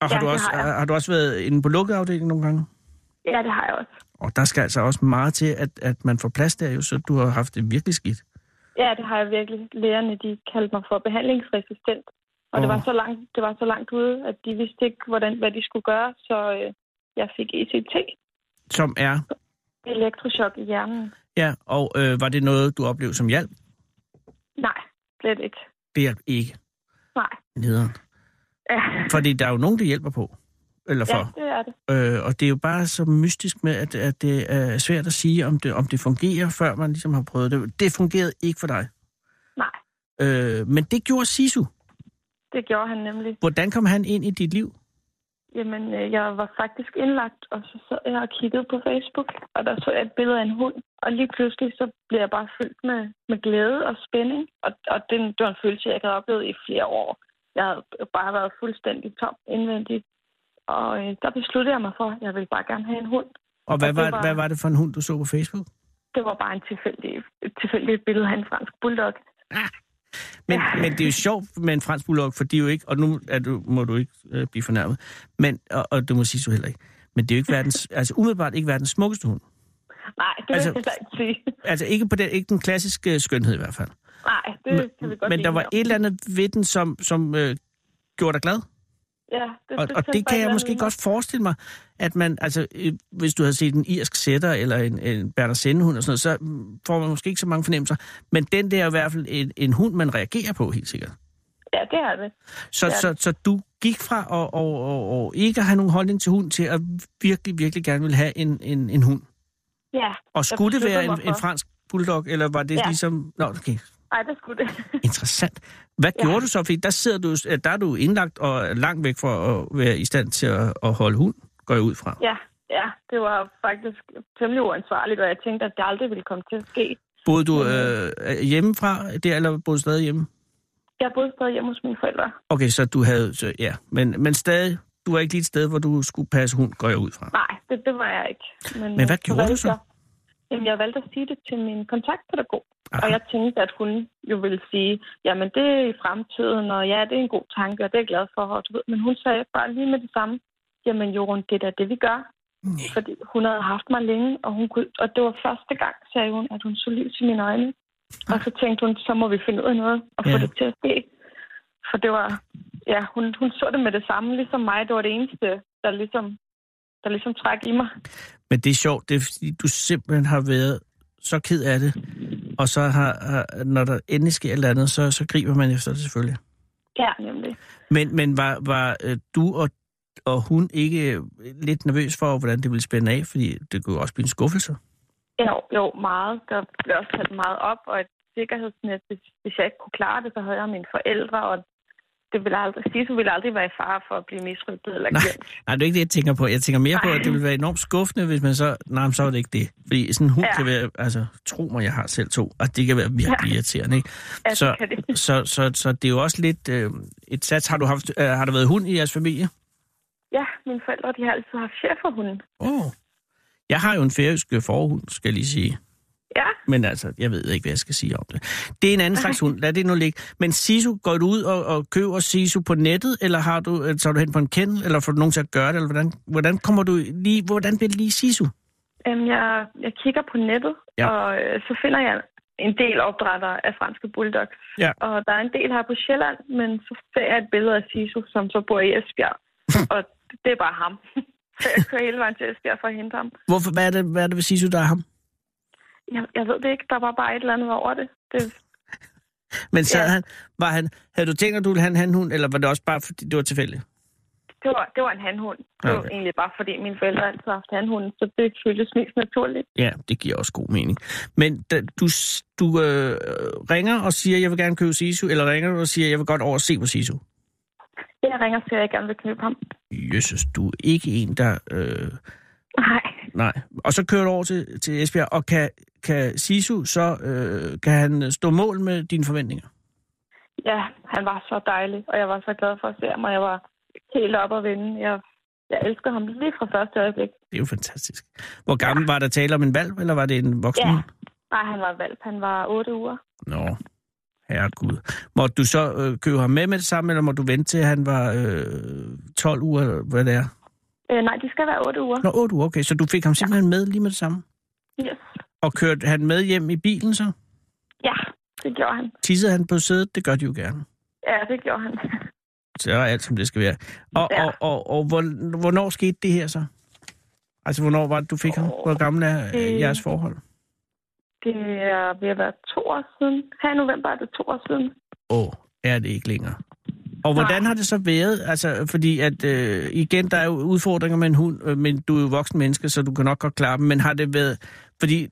Speaker 4: Og har,
Speaker 6: Ja,
Speaker 4: du
Speaker 6: det
Speaker 4: også,
Speaker 6: har jeg.
Speaker 4: har du også været inde på lukket afdeling nogle gange?
Speaker 6: Ja, det har jeg også.
Speaker 4: Og der skal altså også meget til, at, at man får plads der jo, så du har haft det virkelig skidt.
Speaker 6: Ja, det har jeg virkelig. Lægerne, de kaldte mig for behandlingsresistent. Og oh. det,
Speaker 4: Åh.
Speaker 6: var så langt, det var så langt ude, at de vidste ikke, hvordan, hvad de skulle gøre, så øh, jeg fik ECT,
Speaker 4: Som er,
Speaker 6: elektrochok i hjernen.
Speaker 4: ja, og øh, var det noget, du oplevede som hjælp?
Speaker 6: Nej, slet ikke.
Speaker 4: Det hjalp ikke
Speaker 6: Nej.
Speaker 4: nederen.
Speaker 6: Ja,
Speaker 4: Fordi der er jo nogen, det hjælper på. Eller
Speaker 6: ja
Speaker 4: for.
Speaker 6: det er det.
Speaker 4: Ja. Øh, og det er jo bare så mystisk med, at, at det er svært at sige, om det, om det fungerer, før man ligesom har prøvet det. Det fungerede ikke for dig.
Speaker 6: Nej,
Speaker 4: Øh, men det gjorde Sisu.
Speaker 6: det gjorde han nemlig.
Speaker 4: Hvordan kom han ind i dit liv?
Speaker 6: Jamen, øh, jeg var faktisk indlagt, og så sad jeg og kiggede på Facebook, og der så jeg et billede af en hund. Og lige pludselig, så blev jeg bare fyldt med, med glæde og spænding. Og, og den, det var en følelse, jeg ikke havde oplevet i flere år. Jeg havde bare været fuldstændig tom indvendigt. Og øh, der besluttede jeg mig for, at jeg ville bare gerne have en hund.
Speaker 4: Og hvad
Speaker 6: Og det
Speaker 4: var,
Speaker 6: var-
Speaker 4: hvad var det for en hund, du så på Facebook?
Speaker 6: Det var bare en tilfældig, et tilfældigt billede af en fransk bulldog.
Speaker 4: Men, men det er jo sjovt med en fransk bulldog, for de er jo ikke, og nu er du, må du ikke øh, blive fornærmet, men, og, og det må sige så heller ikke, men det er jo ikke verdens, altså umiddelbart ikke verdens smukkeste hund.
Speaker 6: Nej, det
Speaker 4: Altså-
Speaker 6: altså, vil jeg heller ikke sige.
Speaker 4: Altså ikke, på den, ikke den klassiske øh, skønhed i hvert fald.
Speaker 6: Nej, det kan vi godt
Speaker 4: men
Speaker 6: lide
Speaker 4: der var
Speaker 6: her.
Speaker 4: et eller andet ved den, som, som øh, gjorde dig glad.
Speaker 6: Ja, det,
Speaker 4: Og, og det
Speaker 6: tændte bare
Speaker 4: kan
Speaker 6: et
Speaker 4: jeg
Speaker 6: eller
Speaker 4: måske
Speaker 6: andet i
Speaker 4: godt forestille mig, at man, altså, øh, hvis du havde set en irsk sætter eller en, en Berner Sennehund og sådan noget, så mm, får man måske ikke så mange fornemmelser. Men den der er i hvert fald en, en hund, man reagerer på, helt sikkert.
Speaker 6: mig. Ja, det er det.
Speaker 4: Så,
Speaker 6: Ja.
Speaker 4: så, så du gik fra at og, og, og ikke at have nogen holdning til hund, til at virkelig, virkelig gerne ville have en, en, en hund.
Speaker 6: Ja.
Speaker 4: Og skulle det være
Speaker 6: besluttede
Speaker 4: en,
Speaker 6: mig
Speaker 4: en
Speaker 6: for-
Speaker 4: fransk bulldog, eller var det ja.
Speaker 6: Ja.
Speaker 4: ligesom... Nå, okay.
Speaker 6: Nej, det skulle det.
Speaker 4: Interessant. Hvad ja.
Speaker 6: Ja.
Speaker 4: gjorde du så? Fordi der, sidder du, der er du indlagt og er langt væk fra at være i stand til at, at holde hund, går jeg ud fra.
Speaker 6: ja, ja, det var faktisk temmelig uansvarligt, og jeg tænkte, at det aldrig ville komme til at ske.
Speaker 4: Boede du øh, hjemmefra der, eller boede du stadig hjemme?
Speaker 6: Jeg boede stadig hjemme hos mine forældre.
Speaker 4: Okay, så du havde... Så, ja, men, men stadig, du var ikke lige et sted, hvor du skulle passe hund, går jeg ud fra.
Speaker 6: Nej, det, det var jeg ikke.
Speaker 4: Men
Speaker 6: øh,
Speaker 4: hvad gjorde du
Speaker 6: valgte
Speaker 4: så?
Speaker 6: Jeg, jamen, jeg valgte at sige det til min kontaktpædagog.
Speaker 4: Aha.
Speaker 6: Og jeg tænkte, at hun jo ville sige, jamen det er i fremtiden, og ja, det er en god tanke, og det er jeg glad for. Og du ved, men hun sagde bare lige med det samme, jamen Jorun, det er da det, vi gør.
Speaker 4: Nej.
Speaker 6: Fordi hun havde haft mig længe, og, hun kunne, og det var første gang, sagde hun, at hun så lys i mine øjne. Og så tænkte hun, så må vi finde ud af noget og få
Speaker 4: Ja.
Speaker 6: det til at ske. For det var, ja, hun, hun så det med det samme, ligesom mig. Det var det eneste, der ligesom, der ligesom træk i mig.
Speaker 4: Men det er sjovt, det er fordi, du simpelthen har været så ked af det, og så har, har når der endelig sker et eller andet, så, så griber man efter det selvfølgelig.
Speaker 6: Ja, nemlig.
Speaker 4: Men, men var, var øh, du og, og hun ikke øh, lidt nervøs for, hvordan det ville spænde af? Fordi det kunne jo også blive en skuffelse.
Speaker 6: Jo, jo, meget. Der blev også talt meget op, og et sikkerhedsnet, hvis, hvis jeg ikke kunne klare det, så havde jeg mine forældre, og det ville aldrig, Sisu ville aldrig være i fare for at blive misrygtet eller
Speaker 4: Nej.
Speaker 6: glemt.
Speaker 4: Nej, det er ikke det, jeg tænker på. Jeg tænker mere på,
Speaker 6: Nej.
Speaker 4: at det ville være enormt skuffende, hvis man så... Nej, men så var det ikke det. Fordi sådan en hund
Speaker 6: Ja.
Speaker 4: kan være... Altså, tro mig, jeg har selv to, og det kan være virkelig irriterende, ikke?
Speaker 6: Altså,
Speaker 4: Så-
Speaker 6: kan det.
Speaker 4: Så, så, så det er jo også lidt øh, et sats. Har, du haft, øh, har der været hund i jeres familie?
Speaker 6: Ja, mine forældre, de har altid haft schæferhunden.
Speaker 4: Åh. Oh. Jeg har jo en færøsk forhund, skal jeg lige sige.
Speaker 6: Ja,
Speaker 4: Men altså, jeg ved ikke, hvad jeg skal sige om det. Det er en anden slags hund, lad det nu ligge. Men Sisu, går du ud og, og køber Sisu på nettet, eller har du, øh, tager du hen på en kennel, eller får du nogen til at gøre det, eller hvordan, hvordan kommer du lige, hvordan bliver det lige Sisu?
Speaker 6: Øhm, jeg, jeg kigger på nettet,
Speaker 4: Ja.
Speaker 6: ja. og øh, så finder jeg en del opdrætter af franske bulldogs.
Speaker 4: Ja.
Speaker 6: Og der er en del her på Sjælland, men så ser jeg et billede af Sisu, som så bor i Esbjerg.
Speaker 4: Hm.
Speaker 6: og det er bare ham. så jeg kører hele vejen til Esbjerg for at hente ham.
Speaker 4: Hvorfor, hvad er det, hvad er det ved Sisu, der er ham?
Speaker 6: Jeg, jeg ved det ikke, der var bare et eller andet over det. det
Speaker 4: Men sad ja.
Speaker 6: Ja.
Speaker 4: han, var han, havde du tænkt, at du ville have en handhund, eller var det også bare, fordi det var tilfældigt?
Speaker 6: det, var, det var en handhund. Det var
Speaker 4: Okay.
Speaker 6: egentlig bare, fordi mine forældre altid har haft handhunden, så det føltes mest naturligt.
Speaker 4: Ja, det giver også god mening. Men da, du, s- du øh, ringer og siger, jeg vil gerne købe Sisu, eller ringer du og siger, jeg vil godt over og se på Sisu?
Speaker 6: Jeg ringer, så jeg gerne vil knyppe ham.
Speaker 4: Jesus, du er ikke en, der... Øh,
Speaker 6: Nej,
Speaker 4: nej. Og så kører du over til, til Esbjerg, og kan, kan Sisu så... Øh, kan han stå mål med dine forventninger?
Speaker 6: Ja, han var så dejlig, og jeg var så glad for at se ham, og jeg var helt op at vinde. Jeg, jeg elsker ham lige fra første øjeblik.
Speaker 4: Det er jo fantastisk. Hvor gammel ja. var der tale om en valg, eller var det en voksen?
Speaker 6: Ja.
Speaker 4: hund?
Speaker 6: Nej, han var valp. Han var otte uger.
Speaker 4: Nå, herregud. Måtte du så øh, købe ham med med det samme, eller må du vente til, han var øh, 12 uger, eller hvad det er?
Speaker 6: Øh, nej, de skal være otte uger.
Speaker 4: Nå, 8 uger, okay. Så du fik ham simpelthen ja. med lige med det samme?
Speaker 6: Yes.
Speaker 4: Og kørte han med hjem i bilen så?
Speaker 6: Ja, det gjorde han.
Speaker 4: Tissede han på sædet? Det gør de jo gerne.
Speaker 6: Ja, det gjorde han.
Speaker 4: Så er alt, som det skal være. Og, ja.
Speaker 6: Ja.
Speaker 4: og, og, og hvor, hvornår skete det her så? Altså, hvornår var det, du fik ham?
Speaker 6: Åh,
Speaker 4: Hvor gammel er øh,
Speaker 6: det-
Speaker 4: jeres forhold?
Speaker 6: Det er ved at være to år siden. Her i november er det to år siden.
Speaker 4: Åh, er det ikke længere. Og hvordan
Speaker 6: Nej.
Speaker 4: har det så været? Altså, fordi at, øh, igen, der er jo udfordringer med en hund, øh, men du er jo voksen menneske, så du kan nok godt klare dem. Men har det været... Fordi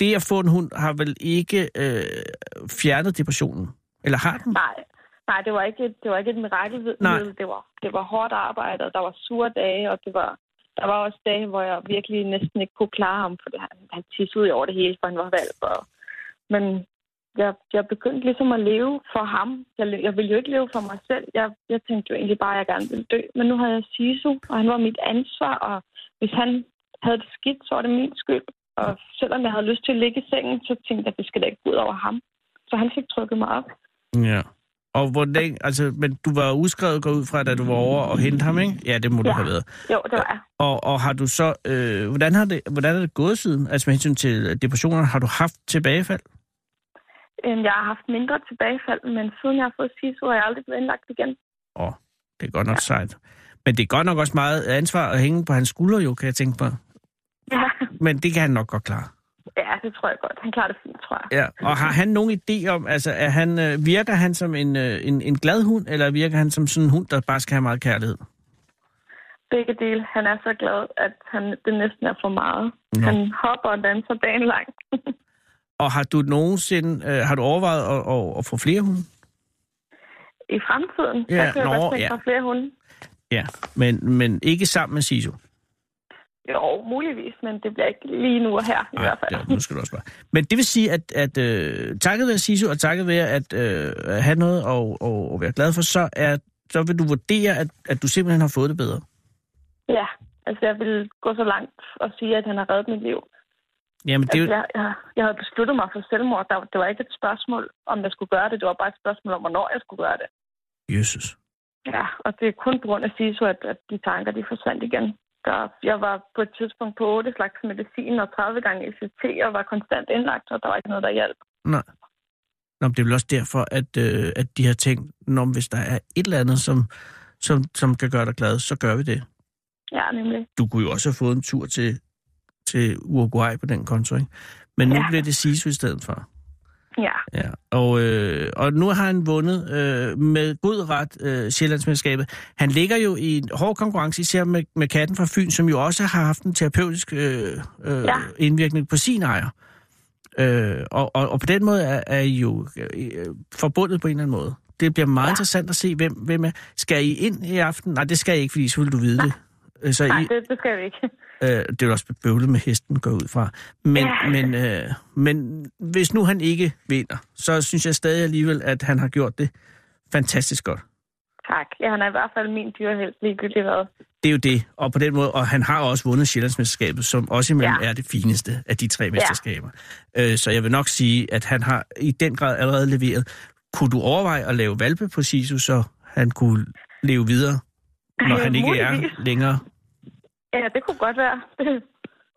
Speaker 4: det at få en hund har vel ikke øh, fjernet depressionen? Eller har den?
Speaker 6: Nej, Nej, det var ikke et, det var ikke et mirakelmiddel.
Speaker 4: Nej.
Speaker 6: Det var, det var hårdt arbejde, og der var sure dage, og det var, der var også dage, hvor jeg virkelig næsten ikke kunne klare ham, for han, han tissede ud over det hele, for han var valp. Og, men jeg, jeg begyndte ligesom at leve for ham. Jeg, le- jeg ville jo ikke leve for mig selv. Jeg, jeg tænkte jo egentlig bare, at jeg gerne ville dø. Men nu havde jeg Sisu, og han var mit ansvar, og hvis han havde det skidt, så var det min skyld. Og selvom jeg havde lyst til at ligge i sengen, så tænkte jeg, at det skal da ikke gå ud over ham. Så han fik trykket mig op.
Speaker 4: Ja. Og hvor længe, altså, men du var udskrevet, går ud fra, da du var over og hente ham, ikke? Ja, det må ja. du
Speaker 6: Ja.
Speaker 4: have været.
Speaker 6: Jo, det var jeg.
Speaker 4: Og, og har du så, øh, hvordan, har det, hvordan er det gået siden? Altså med hensyn til depressioner, har du haft tilbagefald?
Speaker 6: Øhm, Jeg har haft mindre tilbagefald, men siden jeg har fået SISU, har jeg aldrig blevet indlagt igen.
Speaker 4: Åh, det er godt nok ja. sejt. Men det er godt nok også meget ansvar at hænge på hans skuldre, jo, kan jeg tænke på.
Speaker 6: Ja,
Speaker 4: Men det kan han nok godt klare.
Speaker 6: ja det tror jeg godt. Han klarer det fint, tror jeg.
Speaker 4: Ja. Og har han nogen idé om, altså er han, øh, virker han som en, øh, en, en glad hund, eller virker han som sådan en hund, der bare skal have meget kærlighed?
Speaker 6: Begge dele. Han er så glad, at han, det næsten er for meget.
Speaker 4: Nå.
Speaker 6: Han hopper og danser dagen lang.
Speaker 4: Og har du nogensinde, øh, har du overvejet at, at, at få flere hunde?
Speaker 6: I fremtiden,
Speaker 4: Ja,
Speaker 6: der kan jeg
Speaker 4: nå,
Speaker 6: godt tænke
Speaker 4: ja.
Speaker 6: mig flere hunde.
Speaker 4: Ja, men, men ikke sammen med Siso.
Speaker 6: Jo, muligvis, men det bliver ikke lige nu og her i hvert fald.
Speaker 4: ja, nu skal du også bare. Men det vil sige, at, at øh, takket være Siso, og takket være at øh, at have noget og, og, og være glad for, så, er, så vil du vurdere, at, at du simpelthen har fået det bedre.
Speaker 6: Ja, altså jeg vil gå så langt og sige, at han har reddet mit liv.
Speaker 4: Jamen, det er
Speaker 6: Altså,
Speaker 4: jo,
Speaker 6: jeg, jeg, jeg havde besluttet mig for selvmord. Der, det var ikke et spørgsmål, om jeg skulle gøre det. Det var bare et spørgsmål om, hvornår jeg skulle gøre det.
Speaker 4: Jesus.
Speaker 6: Ja, og det er kun på grund af SISU, at, at de tanker de forsvandt igen. Der, jeg var på et tidspunkt på 8 slags medicin og 30 gange ECT og var konstant indlagt, og der var ikke noget, der hjalp.
Speaker 4: Nej. Nå, men det er vel også derfor, at, øh, at de har tænkt, Nå, men hvis der er et eller andet, som, som, som kan gøre dig glad, så gør vi det.
Speaker 6: Ja, nemlig.
Speaker 4: Du kunne jo også have fået en tur til, til Uruguay på den konto, ikke? Men nu ja.
Speaker 6: Ja.
Speaker 4: bliver det Siso i stedet for.
Speaker 6: Ja,
Speaker 4: Ja, og, øh, og nu har han vundet øh, med god ret øh, Sjællandsmesterskabet. Han ligger jo i en hård konkurrence, især med, med katten fra Fyn, som jo også har haft en terapeutisk øh, øh, ja.
Speaker 6: Ja.
Speaker 4: indvirkning på sin ejer. Øh, og, og, og på den måde er, er I jo øh, forbundet på en eller anden måde. Det bliver meget ja.
Speaker 6: Ja.
Speaker 4: interessant at se, hvem, hvem er. Skal I ind i aften? Nej, det skal I ikke, fordi så vil du vide det. Øh, Så
Speaker 6: nej,
Speaker 4: I,
Speaker 6: det, det skal vi ikke.
Speaker 4: Øh, det er jo også bøvlet med hesten, går jeg ud fra. Men, ja.
Speaker 6: Ja.
Speaker 4: men, øh, men hvis nu han ikke vinder, så synes jeg stadig alligevel, at han har gjort det fantastisk godt.
Speaker 6: Tak. Ja, han er i hvert fald min dyrehelt, ligegyldigt hvad.
Speaker 4: Det er jo det, og på den måde, og han har også vundet Sjællandsmesterskabet, som også imellem ja.
Speaker 6: Ja.
Speaker 4: er det fineste af de tre mesterskaber. Øh, så jeg vil nok sige, at han har i den grad allerede leveret. Kunne du overveje at lave valpe på Sisu, så han kunne leve videre, når
Speaker 6: Ja,
Speaker 4: han ikke
Speaker 6: muligvis.
Speaker 4: er længere?
Speaker 6: Ja, det kunne godt være. Det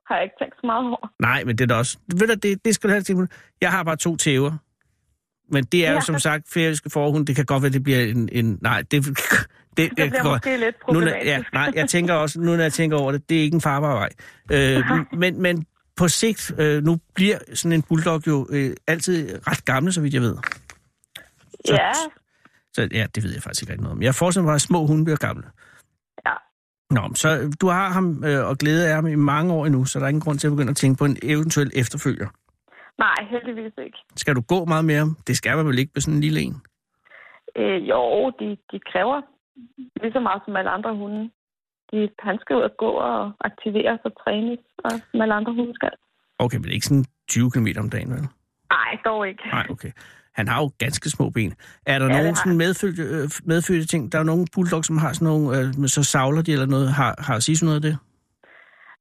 Speaker 6: har jeg ikke tænkt så meget over.
Speaker 4: Nej, men det er da også... Ved du, det, det skal du have tænke på. Jeg har bare to tæver. Men det er ja. jo
Speaker 6: Ja.
Speaker 4: som sagt færøske forhund. Det kan godt være, det bliver en... en nej, det... Det, det
Speaker 6: Det bliver måske lidt
Speaker 4: nu, når-
Speaker 6: problematisk.
Speaker 4: ja, nej, jeg tænker også, nu når jeg tænker over det, det er ikke en farbar vej. Øh, men, men på sigt, øh, nu bliver sådan en bulldog jo øh, altid ret gammel, så vidt jeg ved. Så,
Speaker 6: ja,
Speaker 4: Så, ja, det ved jeg faktisk ikke rigtig noget om. Jeg forestiller mig, bare, at små hunde bliver gamle.
Speaker 6: ja.
Speaker 4: Nå, men så øh, du har ham øh, og glæde af ham i mange år endnu, så der er ingen grund til at begynde at tænke på en eventuel efterfølger.
Speaker 6: Nej, heldigvis ikke.
Speaker 4: Skal du gå meget mere? Det skal man vel ikke med sådan en lille en?
Speaker 6: Øh, jo, de, de kræver lige så meget som alle andre hunde. De, han skal ud og gå og aktiveres og trænes, og som alle andre hunde skal.
Speaker 4: Okay, men ikke sådan 20 km om dagen, vel?
Speaker 6: Nej, dog ikke.
Speaker 4: Nej, okay. Han har jo ganske små ben. Er der
Speaker 6: det
Speaker 4: ja, nogen
Speaker 6: har
Speaker 4: sådan
Speaker 6: han.
Speaker 4: medfødte, øh, medfødte ting? Der er jo nogle bulldog, som har sådan nogle, øh, men så savler de eller noget. Har, har Sisu noget af det?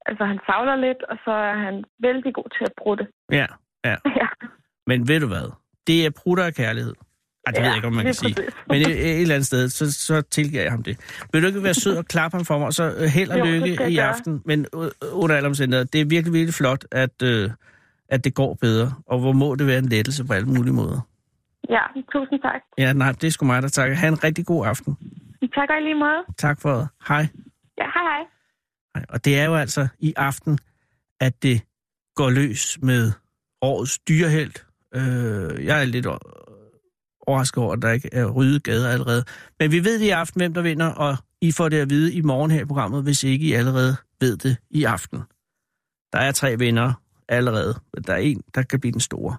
Speaker 6: Altså, han savler lidt, og så er han vældig god til at brutte.
Speaker 4: Ja,
Speaker 6: ja,
Speaker 4: men ved du hvad? Det er prutter af kærlighed. Ej, det ja, ved jeg ikke, om man kan sige.
Speaker 6: lige præcis.
Speaker 4: Men øh, et, et eller andet sted, så, så tilgiver jeg ham det. Vil du ikke være sød og klappe ham for mig, så øh, held og
Speaker 6: Jo, det
Speaker 4: lykke
Speaker 6: skal jeg
Speaker 4: i
Speaker 6: gøre.
Speaker 4: aften. Men øh, under alle omstændigheder, det er virkelig, virkelig flot, at, øh, at det går bedre. Og hvor må det være en lettelse på alle mulige måder.
Speaker 6: ja, tusind tak.
Speaker 4: Ja, nej, det er sgu mig, der takker. Ha' en rigtig god aften.
Speaker 6: Tak og i lige måde.
Speaker 4: Tak for det. Hej.
Speaker 6: Ja, hej hej.
Speaker 4: Hej. Og det er jo altså i aften, at det går løs med årets dyrehelt. Øh, jeg er lidt o- overrasket over, at der ikke er ryddet gader allerede. Men vi ved i aften, hvem der vinder, og I får det at vide i morgen her i programmet, hvis ikke I allerede ved det i aften. Der er tre vinder allerede, men der er en, der kan blive den store.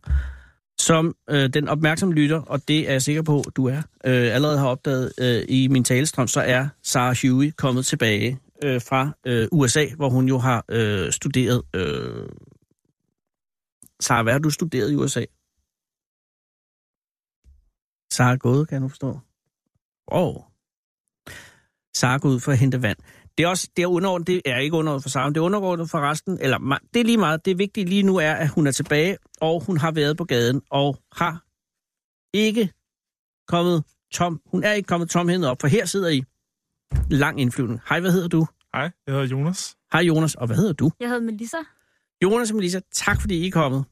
Speaker 4: som øh, den opmærksomme lytter, og det er jeg sikker på, du er, øh, allerede har opdaget øh, i min talestrøm, så er Sarah Huey kommet tilbage øh, fra øh, USA, hvor hun jo har øh, studeret... Øh... Sarah, hvad har du studeret i USA? Sarah er gået, kan jeg nu forstå. Wow. Sarah går ud for at hente vand. Det er også det er underordnet, det er ikke underordnet for Sarah, men det er underordnet for resten, eller ma- det er lige meget. Det vigtige lige nu er, at hun er tilbage, og hun har været på gaden, og har ikke kommet tom. Hun er ikke kommet tomhændet op, for her sidder I. Lang indflyvning. Hej, hvad hedder du?
Speaker 7: Hej, jeg hedder Jonas.
Speaker 4: Hej Jonas, og hvad hedder du?
Speaker 8: Jeg hedder Melissa.
Speaker 4: Jonas og Melissa, tak fordi I er kommet.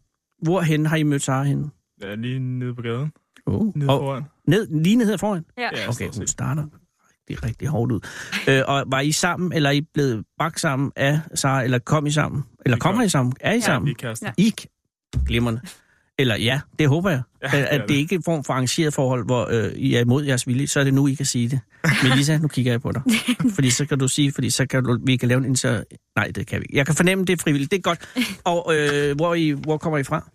Speaker 4: Hvorhen har I mødt Sarah henne?
Speaker 7: Jeg er lige nede på gaden,
Speaker 4: Oh.
Speaker 7: nede
Speaker 4: Og,
Speaker 7: foran.
Speaker 4: ned, lige ned her foran?
Speaker 8: Ja.
Speaker 7: Ja,
Speaker 4: Okay,
Speaker 7: stort
Speaker 4: hun
Speaker 7: set.
Speaker 4: starter rigtig, rigtig hårdt ud. Øh, og var I sammen, eller er I blevet bragt sammen af Sara, eller kom I sammen? Eller
Speaker 7: Vi
Speaker 4: kommer
Speaker 7: kom.
Speaker 4: I sammen? Er I
Speaker 7: Ja, vi
Speaker 4: sammen?
Speaker 7: er kærester.
Speaker 8: Ja.
Speaker 4: I glimrende. Eller ja, det håber jeg.
Speaker 7: Ja,
Speaker 4: At, at det ikke er en form for arrangeret forhold, hvor øh, I er imod jeres vilje, så er det nu, I kan sige det. Melissa, nu kigger jeg på dig. Fordi så kan du sige, fordi så kan du, vi kan lave en inter... Nej, det kan vi ikke. Jeg kan fornemme, det er frivilligt. Det er godt. Og øh, hvor, er I, hvor kommer I fra?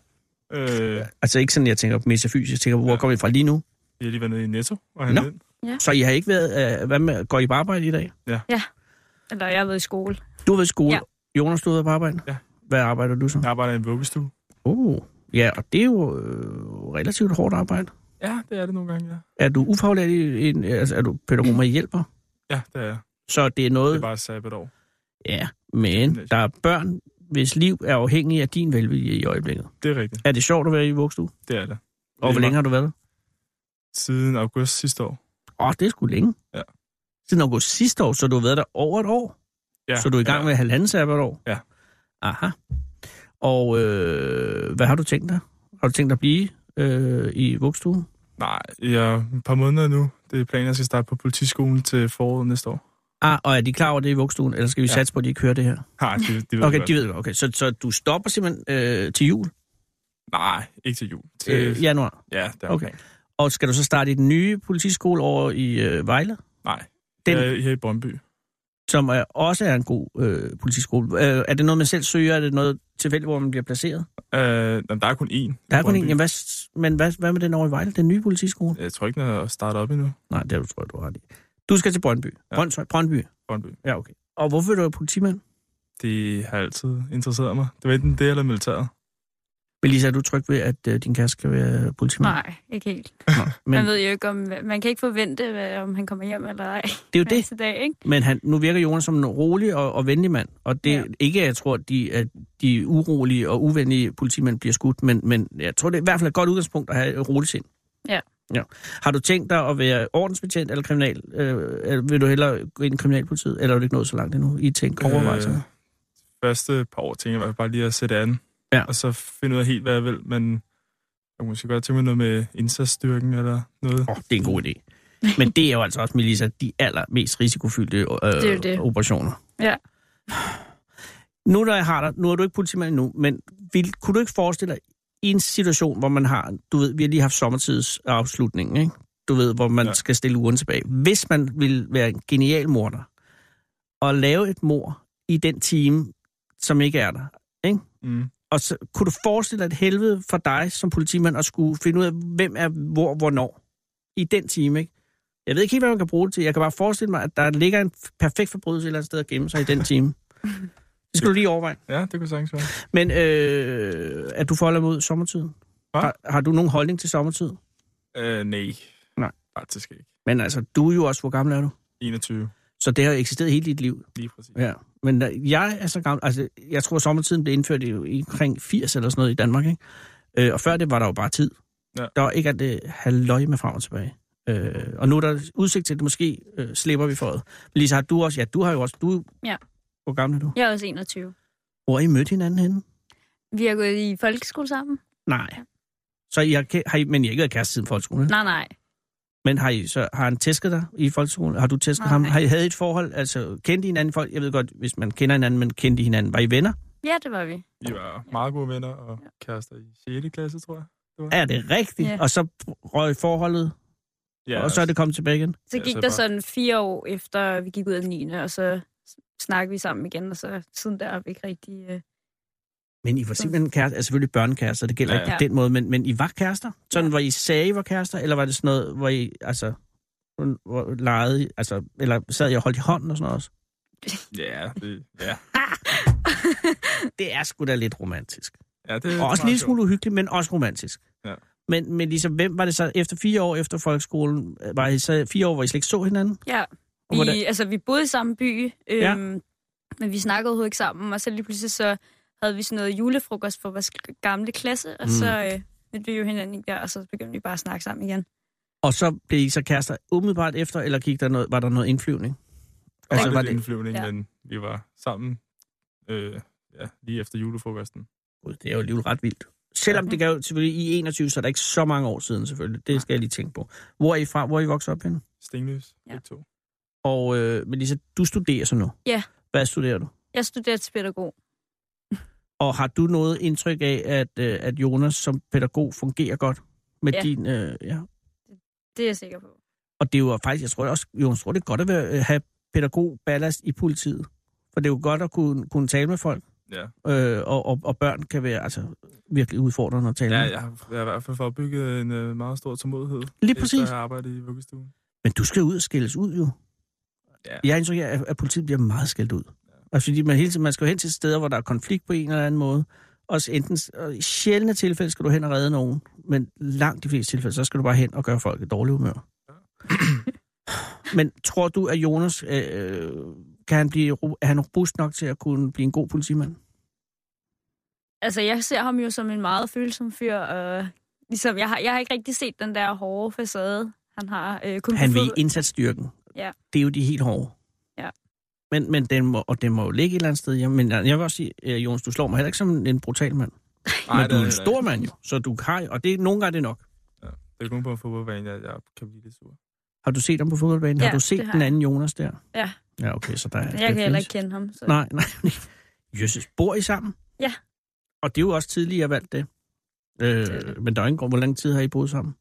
Speaker 7: Øh,
Speaker 4: Altså ikke sådan, jeg tænker metafysisk. Jeg tænker, hvor
Speaker 7: Ja.
Speaker 4: kommer I fra lige nu?
Speaker 7: vi har lige været nede i Netto og
Speaker 4: Nå.
Speaker 7: handlet ind.
Speaker 4: Så I har ikke været... Øh, hvad med, går I på arbejde i dag?
Speaker 8: Eller jeg har været i skole.
Speaker 4: Du har været i skole. Ja.
Speaker 8: Ja.
Speaker 4: Jonas, du har været på arbejde.
Speaker 7: Ja.
Speaker 4: Hvad arbejder du så?
Speaker 7: Jeg arbejder i en vuggestue.
Speaker 4: Oh, ja, og det er jo øh, relativt hårdt arbejde.
Speaker 7: Ja, det er det nogle gange, ja.
Speaker 4: Er du ufaglært i en, altså er du pædagog med hjælper?
Speaker 7: Ja, det er jeg.
Speaker 4: Så det er
Speaker 7: Det
Speaker 4: noget...
Speaker 7: er bare et sabbatår.
Speaker 4: Ja, men der er børn, hvis liv er afhængig af din velvilje i øjeblikket.
Speaker 7: Det er rigtigt.
Speaker 4: Er det sjovt at være i vugstue?
Speaker 7: Det er det.
Speaker 4: Og hvor
Speaker 7: Lige
Speaker 4: længe har du været?
Speaker 7: Siden august sidste år.
Speaker 4: Åh, oh, det er sgu længe.
Speaker 7: Ja.
Speaker 4: Siden august sidste år, så du har været der over et år?
Speaker 7: Ja,
Speaker 4: så du er i gang
Speaker 7: ja.
Speaker 4: med halvanden sabbatår?
Speaker 7: Ja.
Speaker 4: Aha. Og øh, hvad har du tænkt dig? Har du tænkt dig at blive øh, i vugstuen?
Speaker 7: Nej, jeg er et par måneder nu. Det er planen, at jeg skal starte på politiskolen til foråret næste år.
Speaker 4: Ah, og er de klar over det i vugstuen, eller skal vi ja.
Speaker 7: Ja.
Speaker 4: satse på, at de ikke hører det her?
Speaker 7: Nej, det, det ved jeg
Speaker 4: Okay,
Speaker 7: godt.
Speaker 4: de ved det. Okay, så, så du stopper simpelthen øh, til jul,
Speaker 7: Nej, ikke til jul. Til...
Speaker 4: øh, januar.
Speaker 7: Ja, det er
Speaker 4: Okay.
Speaker 7: okay.
Speaker 4: Og skal du så starte i den nye politiskole over i øh, Vejle,
Speaker 7: Nej,
Speaker 4: Den-
Speaker 7: Den... jeg er her i Brøndby.
Speaker 4: som er, også er en god øh, politiskole? Øh, er det noget, man selv søger? Er det noget tilfældigt, hvor man bliver placeret?
Speaker 7: Øh, jamen, der er kun én. i
Speaker 4: Der er kun en,
Speaker 7: Brøndby.
Speaker 4: jamen, hvad, s- men hvad, hvad med den over i Vejle, den nye politiskole?
Speaker 7: Jeg tror ikke, den er startet op endnu.
Speaker 4: Nej, det er du tror jeg, du har ret i. Du skal til Brøndby. Ja.
Speaker 7: Ja.
Speaker 4: Brøndshøj, Brøndby.
Speaker 7: Brøndby.
Speaker 4: Ja, okay. Og hvorfor vil du være politimand?
Speaker 7: Det har altid interesseret mig. Det var enten det eller militæret.
Speaker 4: Melissa, er du tryg ved, at øh, din kæreste skal være politimand?
Speaker 8: Nej, ikke helt.
Speaker 4: men
Speaker 8: Man ved jo ikke, om man kan ikke forvente, hvad- om han kommer hjem eller ej.
Speaker 4: det er jo det.
Speaker 8: Næste dag, ikke?
Speaker 4: Men han, nu virker Jonas som en rolig og, og venlig mand. Og det er
Speaker 8: Ja.
Speaker 4: ikke, at jeg tror, at de, at de urolige og uvenlige politimænd bliver skudt, men, men jeg tror, det er i hvert fald et godt udgangspunkt at have et roligt sind.
Speaker 8: Ja.
Speaker 4: ja. Har du tænkt dig at være ordensbetjent eller kriminal? Øh, eller vil du hellere gå ind i kriminalpolitiet, eller er du ikke nået så langt endnu? I tænker overvejelser. Øh.
Speaker 7: Øh, første par år tænker jeg bare lige at sætte an.
Speaker 4: Ja.
Speaker 7: Og så finde ud af helt, hvad jeg vil. Men jeg kunne måske godt tænke mig noget med indsatsstyrken eller noget.
Speaker 4: Oh, det
Speaker 8: Mm.
Speaker 4: er en god idé. Men det er jo altså også, Melissa, de allermest risikofyldte øh,
Speaker 8: Det er jo det.
Speaker 4: operationer.
Speaker 8: Ja.
Speaker 4: Nu, når jeg har dig, nu er du ikke politimand nu, men vil, kunne du ikke forestille dig i en situation, hvor man har, du ved, vi har lige haft sommertidsafslutningen, ikke? Du ved, hvor man ja.
Speaker 7: Ja.
Speaker 4: skal stille ugen tilbage. Hvis man ville være en genial morder, og lave et mor i den time, som ikke er der,
Speaker 7: Mm.
Speaker 4: og så, kunne du forestille dig et helvede for dig som politimand at skulle finde ud af, hvem er hvor, hvornår? I den time, ikke? Jeg ved ikke helt, hvad man kan bruge det til. Jeg kan bare forestille mig, at der ligger en f- perfekt forbrydelse et eller andet sted at gemme sig i den time. Det skal du lige overveje.
Speaker 7: Ja, det kunne sagtens være.
Speaker 4: Men øh, er du forholder mod sommertiden?
Speaker 7: Hva?
Speaker 4: Har, har du nogen holdning til sommertid?
Speaker 7: Øh, nej.
Speaker 4: Nej.
Speaker 7: Faktisk ikke.
Speaker 4: Men altså, du er jo også, hvor gammel er du?
Speaker 7: 21,
Speaker 4: Så det har eksisteret hele dit liv.
Speaker 7: lige præcis.
Speaker 4: Ja. Men øh, jeg er så gammel, altså jeg tror, sommertiden blev indført i, i omkring 80 eller sådan noget i Danmark, ikke? Øh, og før det var der jo bare tid.
Speaker 7: Ja.
Speaker 4: Der var ikke alt det halvøj med frem og tilbage. Øh, og nu er der udsigt til, at det måske øh, slipper vi for det. Men Lisa, har du også, ja, du har jo også, du,
Speaker 8: Ja.
Speaker 4: hvor gammel er du?
Speaker 8: Jeg er også 21.
Speaker 4: Hvor har I mødt hinanden henne?
Speaker 8: Vi har gået i folkeskole sammen.
Speaker 4: Nej. Så I har, ke- har I, men I har ikke været kæreste siden folkeskolen,
Speaker 8: Nej, nej.
Speaker 4: Men har, I, så, har han tæsket dig i folkeskolen? Har du tæsket
Speaker 8: Nej.
Speaker 4: ham? Har I havde et forhold? Altså, kendte I hinanden folk? Jeg ved godt, hvis man kender hinanden, men kendte I hinanden? Var I venner?
Speaker 8: Ja, det var vi.
Speaker 7: Vi var meget gode venner og kærester i 6. klasse, tror jeg.
Speaker 4: Er det rigtigt?
Speaker 8: Ja.
Speaker 4: Og så røg forholdet, ja,
Speaker 7: altså.
Speaker 4: og så er det kommet tilbage igen?
Speaker 8: Så
Speaker 7: Ja,
Speaker 8: gik
Speaker 7: så
Speaker 8: der
Speaker 7: bare-
Speaker 8: sådan fire år efter, vi gik ud af 9. Og så snakkede vi sammen igen, og så siden der har vi ikke rigtig... Øh...
Speaker 4: Men I var simpelthen kærester, altså selvfølgelig børnekærester, det gælder
Speaker 7: Ja.
Speaker 4: ja. ikke på den måde, men, men I var kærester? Sådan,
Speaker 8: Ja.
Speaker 4: hvor I sagde, I var kærester, eller var det sådan noget, hvor I, altså, hvor, hvor legede, I, altså, eller sad I og holdt i hånden og sådan noget også?
Speaker 7: Ja, det, ja.
Speaker 4: Det er sgu da lidt romantisk.
Speaker 7: ja det, er
Speaker 4: Og også
Speaker 7: meget
Speaker 4: en lille
Speaker 7: sjovt.
Speaker 4: smule uhyggeligt, men også romantisk.
Speaker 7: Ja.
Speaker 4: Men, men ligesom, hvem var det så efter fire år efter folkeskolen? øh, Var I så fire år, hvor I slet ikke så hinanden?
Speaker 8: Ja,
Speaker 4: Og hvordan-
Speaker 8: vi, altså, vi boede i samme by, øhm,
Speaker 4: Ja.
Speaker 8: ja. men vi snakkede overhovedet ikke sammen. Og så lige pludselig så havde vi sådan noget julefrokost for vores gamle klasse, og
Speaker 4: Mm.
Speaker 8: mm. så øh, mødte vi jo hinanden der, og så begyndte vi bare at snakke sammen igen.
Speaker 4: Og så blev I så kærester umiddelbart efter, eller gik der noget, var der noget indflyvning?
Speaker 7: Der
Speaker 4: Altså,
Speaker 7: var
Speaker 4: var
Speaker 7: lidt
Speaker 4: det-
Speaker 7: indflyvning,
Speaker 8: Ja.
Speaker 7: men vi var sammen øh, ja, lige efter julefrokosten.
Speaker 4: Gud, det er jo alligevel ret vildt. Selvom det gav jo selvfølgelig i 21, så er der ikke så mange år siden selvfølgelig. Det skal jeg lige tænke på. Hvor er I fra? Hvor er I vokset op henne?
Speaker 7: Stenløs,
Speaker 8: Ja.
Speaker 7: ja. to.
Speaker 4: Og øh, Melissa, du studerer så nu.
Speaker 8: Ja.
Speaker 4: Hvad studerer du?
Speaker 8: Jeg studerer til pædagog.
Speaker 4: Og har du noget indtryk af, at, øh, at Jonas som pædagog fungerer godt med
Speaker 8: Ja.
Speaker 4: din... Øh, ja.
Speaker 8: Det er jeg sikker på.
Speaker 4: Og det er jo faktisk, jeg tror også, Jonas tror det er godt at være, øh, have pædagog ballast i politiet. For det er jo godt at kunne, kunne tale med folk.
Speaker 7: Ja.
Speaker 4: Øh, og, og, og, børn kan være altså, virkelig udfordrende at tale
Speaker 7: Ja,
Speaker 4: med.
Speaker 7: jeg har, jeg har i hvert fald opbygget en øh, meget stor tålmodighed.
Speaker 4: Lige
Speaker 7: Efter
Speaker 4: præcis.
Speaker 7: jeg arbejdede i vuggestuen.
Speaker 4: Men du skal ud og skældes ud jo.
Speaker 7: Ja.
Speaker 4: Jeg indtrykker, at, at politiet bliver meget skældt ud. Altså, fordi man, hele tiden, man skal jo hen til steder, hvor der er konflikt på en eller anden måde. Og så enten, og i sjældne tilfælde skal du hen og redde nogen, men langt de fleste tilfælde, så skal du bare hen og gøre folk et dårligt humør. men tror du, at Jonas, øh, kan han blive, ro- er han robust nok til at kunne blive en god politimand?
Speaker 8: Altså, jeg ser ham jo som en meget følsom fyr, og ligesom, jeg har, jeg har ikke rigtig set den der hårde facade, han har. Øh, kun på
Speaker 4: Han vil i
Speaker 8: fod-
Speaker 4: indsatsstyrken.
Speaker 8: Ja.
Speaker 4: Det er jo de helt hårde.
Speaker 8: Ja.
Speaker 4: Men, men den må, og den må jo ligge et eller andet sted. Ja, men jeg vil også sige, øh, Jonas, du slår mig heller ikke som en brutal mand. Ej, men
Speaker 7: det
Speaker 4: du er
Speaker 7: heller
Speaker 4: en stor
Speaker 7: ikke.
Speaker 4: mand jo, så du har, og det er nogle gange er det nok.
Speaker 7: Det er kun på en fodboldbane, at jeg kan blive lidt sur.
Speaker 4: Har du set ham på fodboldbanen?
Speaker 8: Ja,
Speaker 4: har du set
Speaker 8: det har
Speaker 4: den
Speaker 8: jeg.
Speaker 4: anden Jonas der?
Speaker 8: Ja.
Speaker 4: Ja, okay, så der er...
Speaker 8: Men
Speaker 4: det
Speaker 8: Jeg kan heller
Speaker 4: findes.
Speaker 8: ikke kende ham. Så.
Speaker 4: Nej, nej. Jesus, bor I sammen?
Speaker 8: Ja.
Speaker 4: Og det er jo også tidligere valgt det.
Speaker 8: er
Speaker 4: Øh, men der er ingen grund, hvor lang tid har I boet sammen?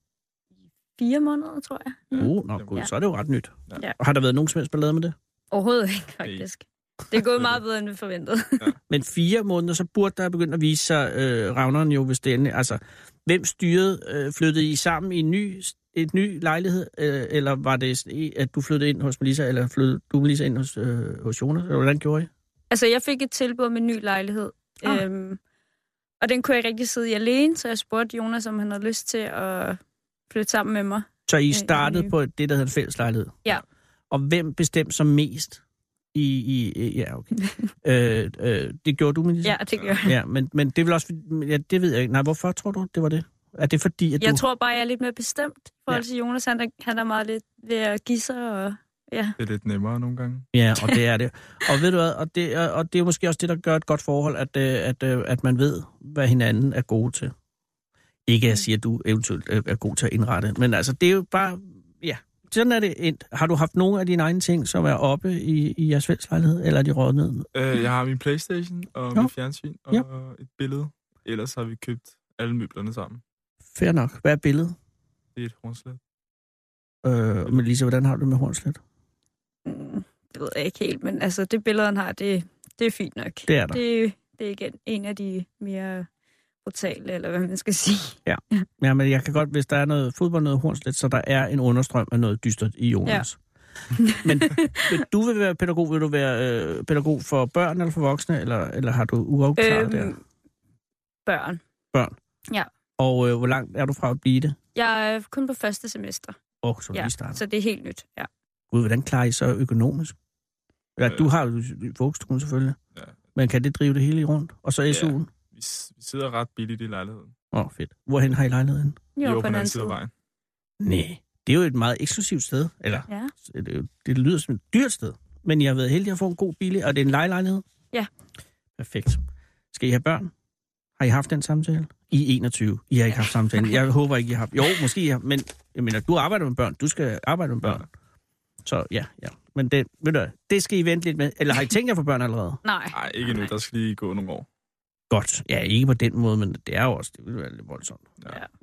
Speaker 8: Fire måneder, tror jeg.
Speaker 4: Ja. Uh, nå, gud,
Speaker 8: Mm. Ja.
Speaker 4: så er det jo ret nyt.
Speaker 8: Ja.
Speaker 4: Og har der været nogen som helst ballade med det?
Speaker 8: Overhovedet ikke, faktisk. Det er gået meget bedre, end vi forventede.
Speaker 4: Men fire måneder, så burde der begynde at vise sig øh, Ravneren jo, hvis det endelig... Altså, hvem styrede? Øh, flyttede I sammen i en ny, et ny lejlighed? Øh, eller var det, sådan, i- at du flyttede ind hos Melissa, eller flyttede du Melissa ind hos, øh, hos Jonas? Eller hvordan gjorde I?
Speaker 8: Altså, jeg fik et tilbud om en ny lejlighed.
Speaker 4: Ah.
Speaker 8: Ah. Øhm, og den kunne jeg ikke rigtig sidde i alene, så jeg spurgte Jonas, om han havde lyst til at flytte sammen med mig.
Speaker 4: Så I
Speaker 8: Øh,
Speaker 4: startede
Speaker 8: i-
Speaker 4: på det, der hedder en fælleslejlighed?
Speaker 8: Ja.
Speaker 4: Og hvem bestemte som mest? I, i, i ja, okay. øh, øh, det gjorde du, Melissa?
Speaker 8: Ja, det gjorde jeg.
Speaker 4: Ja, men, men det vil også... Ja, det ved jeg ikke. Nej, hvorfor tror du, det var det? Er det fordi, at du...
Speaker 8: Jeg tror bare, jeg er lidt mere bestemt i forhold
Speaker 4: Ja.
Speaker 8: til Jonas. Han er, han er meget lidt ved at give sig, og ja,
Speaker 7: Det er lidt nemmere nogle gange.
Speaker 4: Ja, og det er det. Og ved du hvad, og det, er- og det er måske også det, der gør et godt forhold, at, øh, at, øh, at man ved, hvad hinanden er gode til. Ikke at jeg siger, at du eventuelt øh, er god til at indrette, men altså, det er jo bare, ja, sådan er det endt. Har du haft nogle af dine egne ting, som er oppe i, i jeres fælleslejlighed, eller er de røget ned?
Speaker 7: Øh, jeg har min Playstation og
Speaker 4: Nå.
Speaker 7: min fjernsyn og
Speaker 4: Ja.
Speaker 7: et billede. Ellers har vi købt alle møblerne sammen.
Speaker 4: Fair nok. Hvad er billedet?
Speaker 7: Det er et hornslet.
Speaker 4: Øh, men Lisa, hvordan har du det med Hornslet?
Speaker 8: mm, det ved jeg ikke helt. Men altså, det billede, han har, det, det er fint nok.
Speaker 4: Det er der.
Speaker 8: Det, det er igen en af de mere brutale, eller hvad man skal sige.
Speaker 4: Ja, men jeg kan godt, hvis der er noget fodbold, noget hornslet, så der er en understrøm af noget dystert i Jonas. Ja. men, men du vil være pædagog, vil du være øh, pædagog for børn eller for voksne, eller, eller har du uafklaret øhm. der?
Speaker 8: børn.
Speaker 4: Og øh, hvor langt er du fra at blive det?
Speaker 8: Jeg er kun på første semester,
Speaker 4: Åh, oh, så ja.
Speaker 8: Ja,
Speaker 4: lige starter.
Speaker 8: så det er helt nyt. Ja.
Speaker 4: Gud, hvordan klarer I så økonomisk? Ja,
Speaker 7: Øh.
Speaker 4: du har jo vugstuen selvfølgelig. Ja.
Speaker 7: Ja.
Speaker 4: Men kan det drive det hele i rundt? Og så SU'en?
Speaker 7: Vi, s- vi sidder ret billigt i lejligheden.
Speaker 4: Åh, oh, fedt. Hvorhen har I lejligheden?
Speaker 7: Vi er
Speaker 8: Jo,
Speaker 7: på den anden side af vejen.
Speaker 4: Nej, det er jo et meget eksklusivt sted. Eller,
Speaker 8: Ja.
Speaker 4: det, er jo- det lyder som et dyrt sted, men jeg har været heldig at få en god bil, og det er en lejlighed?
Speaker 8: Ja.
Speaker 4: Perfekt. Skal I have børn? Har I haft den samtale? I er 21. I har ikke haft samtalen. Jeg håber ikke, I har haft. Jo, måske I har, men jeg mener, du arbejder med børn. Du skal arbejde med børn. Så ja, ja. Men det, ved du, hvad, det skal I vente lidt med. Eller har I tænkt jer for børn allerede?
Speaker 8: Nej.
Speaker 7: Nej, ikke nu. Der skal lige gå nogle år.
Speaker 4: Godt. Ja, ikke på den måde, men det er jo også, det vil være lidt voldsomt.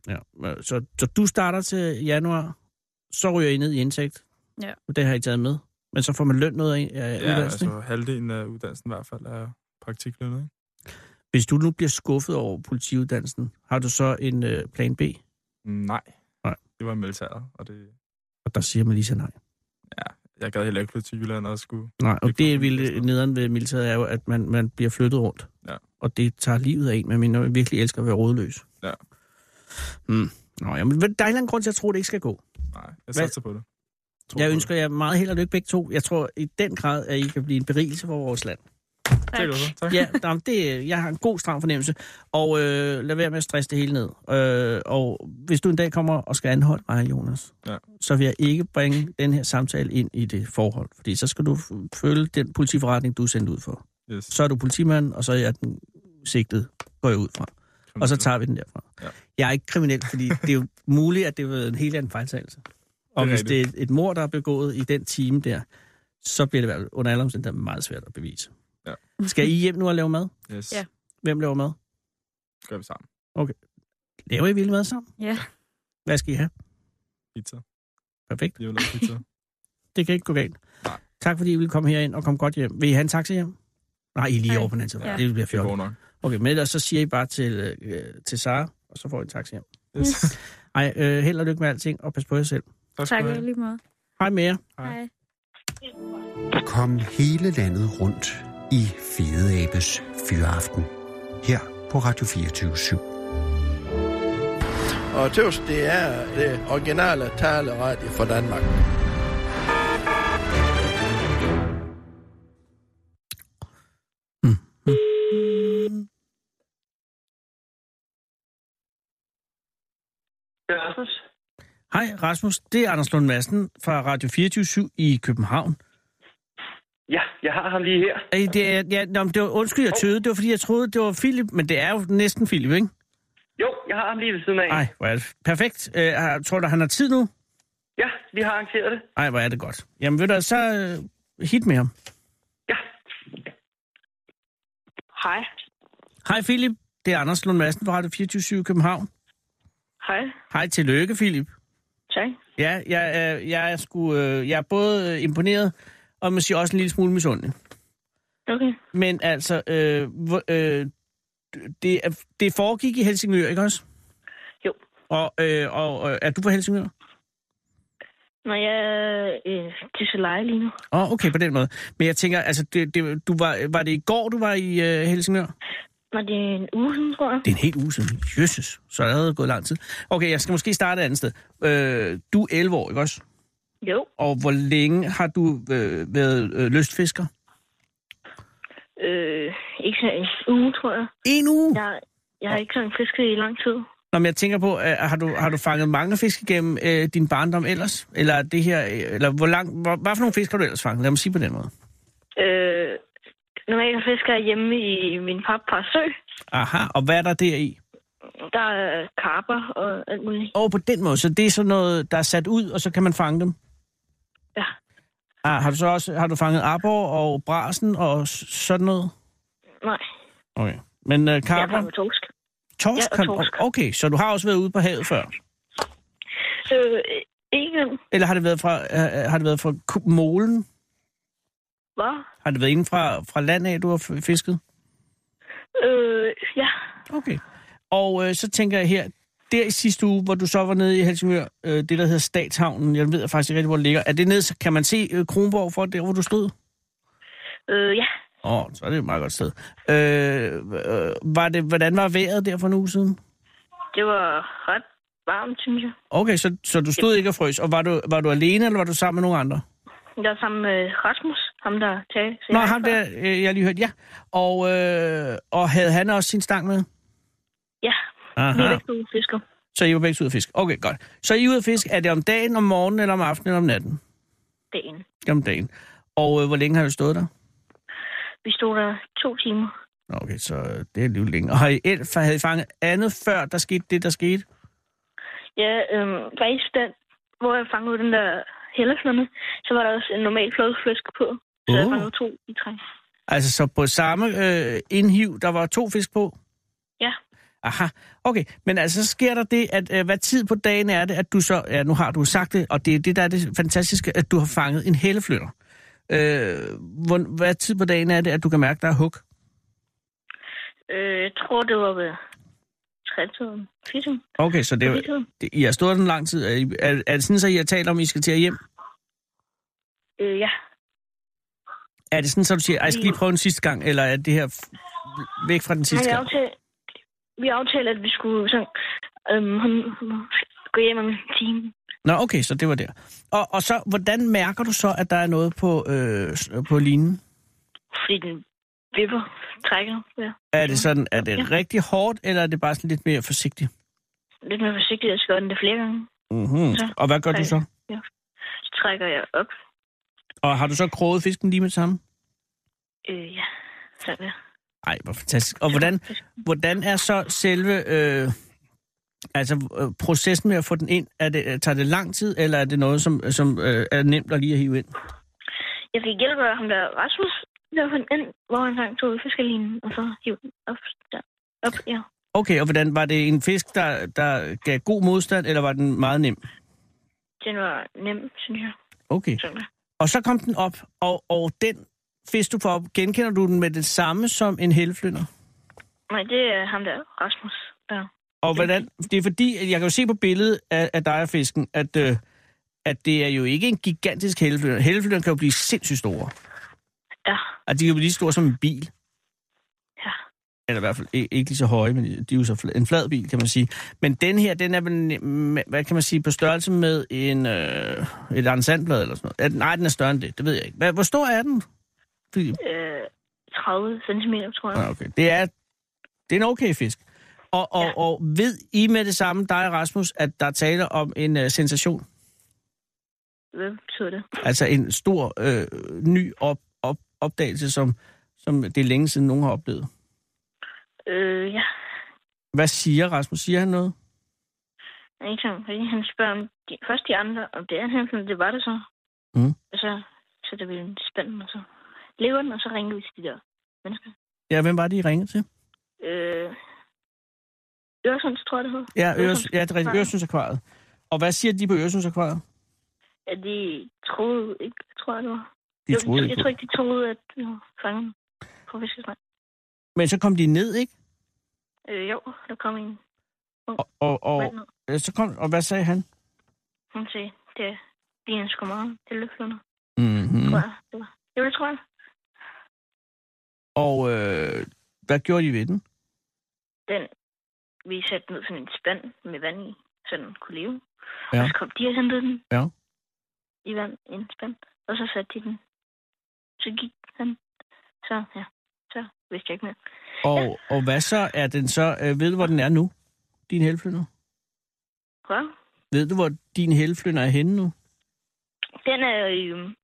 Speaker 7: Ja.
Speaker 4: Ja. Så, så du starter til januar, så ryger I ned i indtægt.
Speaker 8: Ja.
Speaker 4: Og det har I taget med. Men så får man løn noget af, af
Speaker 7: Ja,
Speaker 4: uddannelsen, ikke?
Speaker 7: altså halvdelen af uddannelsen i hvert fald er praktiklønnet. ikke?
Speaker 4: Hvis du nu bliver skuffet over politiuddannelsen, har du så en øh, plan B?
Speaker 7: Nej.
Speaker 4: Nej.
Speaker 7: Det var militæret, og det,
Speaker 4: Og der siger man lige så nej.
Speaker 7: jeg gad heller ikke flytte til Jylland og skulle...
Speaker 4: Nej, og det,
Speaker 7: Det kunne
Speaker 4: det
Speaker 7: man
Speaker 4: ville
Speaker 7: forstå.
Speaker 4: nederen ved militæret er jo, at man, man bliver flyttet rundt.
Speaker 7: Ja.
Speaker 4: Og det tager livet af en, men man virkelig elsker at være rådløs.
Speaker 7: Ja.
Speaker 4: Mm. Nå, jamen, der er en eller anden grund til, at jeg tror, det ikke skal gå.
Speaker 7: Nej, jeg
Speaker 4: Hvad-
Speaker 7: satser på det. Tror
Speaker 4: Jeg
Speaker 7: på
Speaker 4: ønsker jer meget held og lykke begge to. Jeg tror i den grad, at I kan blive en berigelse for vores land.
Speaker 7: det. Tak. Oliver. Tak.
Speaker 4: Ja, nej, men det, jeg har en god, stram fornemmelse. Og øh, lad være med at stresse det hele ned. Øh, og hvis du en dag kommer og skal anholde mig, Jonas,
Speaker 7: Ja.
Speaker 4: så vil jeg ikke bringe den her samtale ind i det forhold. Fordi så skal du f- følge den politiforretning, du er sendt ud for.
Speaker 7: Yes.
Speaker 4: Så er du politimand, og så er jeg den sigtede, går jeg ud fra. Og så tager vi den derfra.
Speaker 7: Ja.
Speaker 4: Jeg er ikke kriminel, fordi det er jo muligt, at det var en helt anden fejltagelse. Og
Speaker 7: Det er
Speaker 4: hvis det er et mor, der er begået i den time der, så bliver det i hvert fald under alle omstændigheder meget svært at bevise.
Speaker 7: Ja.
Speaker 4: Skal I hjem nu og lave mad?
Speaker 7: Yes,
Speaker 8: Ja.
Speaker 7: ja.
Speaker 4: Hvem laver mad?
Speaker 7: gør vi sammen.
Speaker 4: Laver I vild mad sammen?
Speaker 8: Ja.
Speaker 4: Hvad skal I have?
Speaker 7: Pizza.
Speaker 4: Perfekt.
Speaker 7: Jeg vil lave pizza.
Speaker 4: Det kan ikke gå galt.
Speaker 7: Nej.
Speaker 4: Tak fordi I ville komme herind og komme godt hjem. Vil I have en taxa hjem? Nej, I er lige
Speaker 8: Nej.
Speaker 4: over på den anden side.
Speaker 8: Ja.
Speaker 4: Ja. Det bliver
Speaker 7: det går
Speaker 4: fjollet.
Speaker 7: nok.
Speaker 4: Okay, men ellers så siger I bare til, øh, til Sara, og så får I en taxa hjem.
Speaker 7: Yes.
Speaker 4: Ej, øh, held og lykke med alting, og pas på jer selv.
Speaker 7: tak skal
Speaker 8: Tak
Speaker 7: du
Speaker 8: i
Speaker 7: have.
Speaker 8: lige måde.
Speaker 4: Hej med jer.
Speaker 8: Hej.
Speaker 5: Kom hele landet rundt i Fede Abes Fyraften. Her på Radio 24 /7.
Speaker 2: Og tøvs, det er det originale taleradio for Danmark.
Speaker 3: Rasmus?
Speaker 4: Hej Rasmus, det er Anders Lund Madsen fra Radio 24 i København.
Speaker 3: Ja, jeg har ham lige her.
Speaker 4: Ej, det er, ja, nå, men det var, undskyld, jeg tøvede. Det var fordi, jeg troede, det var Philip, men det er jo næsten Philip, ikke?
Speaker 3: Jo, jeg har ham lige ved siden af.
Speaker 4: Nej, hvor er det perfekt. Øh, har- tror du, han har tid nu?
Speaker 3: Ja, vi har arrangeret det.
Speaker 4: Nej, hvor er det godt. Jamen ved du, hvad, så øh, hit med ham.
Speaker 3: Ja. Hej.
Speaker 4: Hej Philip, det er Anders Lund Madsen fra Radio 24 i København.
Speaker 6: Hej.
Speaker 4: Hej, tillykke Philip.
Speaker 6: Tak.
Speaker 4: Ja, jeg, øh, jeg, er sgu, øh, jeg er både øh, imponeret og man siger også en lille smule misundelig.
Speaker 6: Okay.
Speaker 4: Men altså, øh, hvor- øh, det, er- det foregik i Helsingør, ikke også?
Speaker 6: Jo.
Speaker 4: Og, øh, og øh, er du fra Helsingør?
Speaker 6: Når jeg er øh, til Soleil lige nu.
Speaker 4: Åh, oh, okay, på den måde. Men jeg tænker, altså, det, det, du var, var det i går, du var i øh, Helsingør?
Speaker 6: Når det er en uge siden, tror jeg.
Speaker 4: Det er en helt uge siden. Jesus, så er det gået lang tid. Okay, jeg skal måske starte et andet sted. Øh, du er 11 år, ikke også?
Speaker 6: Jo.
Speaker 4: Og hvor længe har du øh, været øh, lystfisker?
Speaker 6: Øh, ikke sådan en uge, tror jeg.
Speaker 4: En uge? Ja.
Speaker 6: Jeg, jeg har ikke sådan fisket i lang tid.
Speaker 4: Nå, men jeg tænker på, øh, har, du, har du fanget mange fisk igennem øh, din barndom ellers? Eller er det her, øh, eller hvor lang, hvor, hvad for nogle fisk har du ellers fanget? Lad mig sige på den måde.
Speaker 6: Øh, normalt fisker jeg hjemme i min pappas sø.
Speaker 4: Aha, og hvad er der deri?
Speaker 6: Der er karper og alt muligt.
Speaker 4: Og på den måde, så det er sådan noget, der er sat ud, og så kan man fange dem?
Speaker 6: Ja.
Speaker 4: Ah, har du så også har du fanget abor og brasen og s- sådan noget?
Speaker 6: Nej,
Speaker 4: Okay. Men øh,
Speaker 6: jeg
Speaker 4: karper?
Speaker 6: er torsk.
Speaker 4: Torsk?
Speaker 6: Ja, og
Speaker 4: kan-
Speaker 6: torsk.
Speaker 4: Okay, så du har også været ude på havet før?
Speaker 6: Øh, ikke
Speaker 4: Eller har det været fra, øh, øh, har det været fra ku- molen?
Speaker 6: hvad?
Speaker 4: Har det været inden fra, fra land af, du har f- fisket?
Speaker 6: Øh, ja.
Speaker 4: Okay. Og øh, så tænker jeg her, der i sidste uge, hvor du så var nede i Helsingør, øh, det der hedder Statshavnen, jeg ved faktisk ikke rigtig, hvor det ligger. Er det nede, så kan man se øh, Kronborg for der, hvor du stod?
Speaker 6: Øh, ja.
Speaker 4: Åh, oh, så er det et meget godt sted. Øh, øh, var det, hvordan var vejret der for en uge siden?
Speaker 6: Det var ret varmt, synes jeg.
Speaker 4: Okay, så, så du stod ikke og frøs, og var du, var du alene, eller var du sammen med nogen andre?
Speaker 6: Jeg er sammen med Rasmus, ham der talte. til
Speaker 4: Nå,
Speaker 6: jer
Speaker 4: ham
Speaker 6: før.
Speaker 4: der, øh, jeg lige hørte, ja. Og, øh, og havde han også sin stang med?
Speaker 6: Ja, vi er
Speaker 4: Aha.
Speaker 6: begge to fisker.
Speaker 4: Så I var begge ude at fiske. Okay, godt. Så I er ude at fiske. Er det om dagen, om morgenen, eller om aftenen, eller om natten?
Speaker 6: Dagen.
Speaker 4: Det er Om dagen. Og øh, hvor længe har du stået der?
Speaker 6: Vi stod der to timer.
Speaker 4: Nå, Okay, så øh, det er lige længe. Og har I elf, havde I fanget andet før, der skete det, der skete?
Speaker 6: Ja, øh, faktisk den, hvor jeg fangede den der helleflamme, så var der også en normal flodfisk på. Så jeg
Speaker 4: Uh.
Speaker 6: fangede to i tre.
Speaker 4: Altså, så på samme øh, indhiv, der var to fisk på?
Speaker 6: Ja.
Speaker 4: Aha, okay. Men altså, så sker der det, at øh, hvad tid på dagen er det, at du så... Ja, nu har du sagt det, og det er det, der er det fantastiske, at du har fanget en helleflytter. Øh, hvor, hvad tid på dagen er det, at du kan mærke, der er hug?
Speaker 6: Øh, jeg tror, det var ved trætiden. Fittum.
Speaker 4: Okay, så det, er- det, I har stået den lang tid. Er, I- er, er det sådan, at I har talt om, at I skal til at hjem?
Speaker 6: Øh, ja.
Speaker 4: Er det sådan, så du siger, at jeg skal lige prøve den sidste gang, eller er det her f- væk fra den sidste
Speaker 6: Nej, vi
Speaker 4: gang?
Speaker 6: aftalte, vi aftalte, at vi skulle sådan, øhm, hun- hun- gå hjem om en time.
Speaker 4: Nå, okay, så det var der. Og, og så, hvordan mærker du så, at der er noget på, øh, s- på linen?
Speaker 6: Fordi den vipper, trækker. Ja.
Speaker 4: Er det sådan, er
Speaker 6: Ja.
Speaker 4: det rigtig hårdt, eller er det bare sådan lidt mere forsigtigt?
Speaker 6: Lidt mere forsigtigt, jeg skal gøre den det flere gange.
Speaker 4: Mm-hmm.
Speaker 6: Ja.
Speaker 4: Og hvad gør du
Speaker 6: Nej.
Speaker 4: så?
Speaker 6: Så trækker jeg op.
Speaker 4: Og har du så kroget fisken lige med det samme?
Speaker 6: Øh, ja. Sådan der.
Speaker 4: Ej, hvor fantastisk. Og hvordan, hvordan er så selve øh, altså, øh, processen med at få den ind? Er det, øh, tager det lang tid, eller er det noget, som, som øh, er nemt at lige at hive ind?
Speaker 6: Jeg fik hjælp af ham der, Rasmus, der fandt ind, hvor han sang tog fiskelinen, og så hiv den op der. Op, ja.
Speaker 4: Okay, og hvordan var det en fisk, der, der gav god modstand, eller var den meget nem?
Speaker 6: Den var nem, synes jeg.
Speaker 4: Okay.
Speaker 6: Sådan der.
Speaker 4: Og så kom den op, og, og den fisk, du får op, genkender du den med det samme som en helflynder?
Speaker 6: Nej, det er ham der, Rasmus. Der.
Speaker 4: Og hvordan, det er fordi, at jeg kan jo se på billedet af, af dig og fisken, at, øh, at det er jo ikke en gigantisk helflynder. Helflynder kan jo blive sindssygt store.
Speaker 6: Ja,
Speaker 4: Altså, de kan jo blive lige store som en bil.
Speaker 6: Ja.
Speaker 4: Eller i hvert fald i- ikke lige så høje, men de er jo så fl- en flad bil, kan man sige. Men den her, den er vel, mm, hvad kan man sige, på størrelse med en, øh, et ansandblad eller sådan noget. Er den- Nej, den er større end det, det ved jeg ikke. Hvad, hvor stor er den? Fordi,
Speaker 6: øh, 30 cm, tror jeg.
Speaker 4: Nå, okay. Det er, det er en okay fisk. Og, og,
Speaker 6: Ja.
Speaker 4: og ved I med det samme, dig og Rasmus, at der taler om en øh, sensation?
Speaker 6: Hvad betyder det?
Speaker 4: Altså en stor, øh, ny op, op, opdagelse, som, som det er længe siden nogen har oplevet.
Speaker 6: Øh, ja.
Speaker 4: Hvad siger Rasmus? Siger han noget?
Speaker 6: Han er Ikke sådan, fordi han spørger om de, først de andre, om det er han, sådan, det var det så.
Speaker 4: Mm.
Speaker 6: Og så sætter vi den spænden, og så lever den, og så ringer vi til de der mennesker.
Speaker 4: Ja, hvem var det, I ringede til?
Speaker 6: Øh, Øresunds, tror jeg, det hed.
Speaker 4: Ja, Øres,
Speaker 6: Øresunds-
Speaker 4: ja det er rigtigt.
Speaker 6: Akvariet.
Speaker 4: Øresundsakvariet. Og hvad siger de på Øresundsakvariet?
Speaker 6: Ja, de troede ikke, tror jeg, det var.
Speaker 4: De
Speaker 6: Jo,
Speaker 4: troede
Speaker 6: jeg
Speaker 4: ikke
Speaker 6: tror
Speaker 4: på.
Speaker 6: ikke, de troede, at vi var fanget på fiskesmand.
Speaker 4: Men så kom de ned, ikke?
Speaker 6: Øh, jo, der kom en
Speaker 4: Og, og, og,
Speaker 6: mand ned.
Speaker 4: øh, så kom, og hvad sagde han?
Speaker 6: Hun sagde, det ligner sgu meget. Det løfter nu,
Speaker 4: Mm-hmm.
Speaker 6: tror jeg. Det var. Jo, det tror jeg.
Speaker 4: Og øh, hvad gjorde de ved den?
Speaker 6: Den, vi satte den ud sådan en spand med vand i, så den kunne leve.
Speaker 4: Ja.
Speaker 6: Ja. Og så kom de og hentede den.
Speaker 4: Ja.
Speaker 6: I vand, i en spand. Og så satte de den. Så gik han. Så, ja. Så vidste jeg ikke mere.
Speaker 4: Og, og hvad så er den så? Øh, ved du, hvor den er nu? Din helflynder?
Speaker 6: Hvad?
Speaker 4: Ved du, hvor din helflynder er henne nu?
Speaker 6: Den er jo i øhm,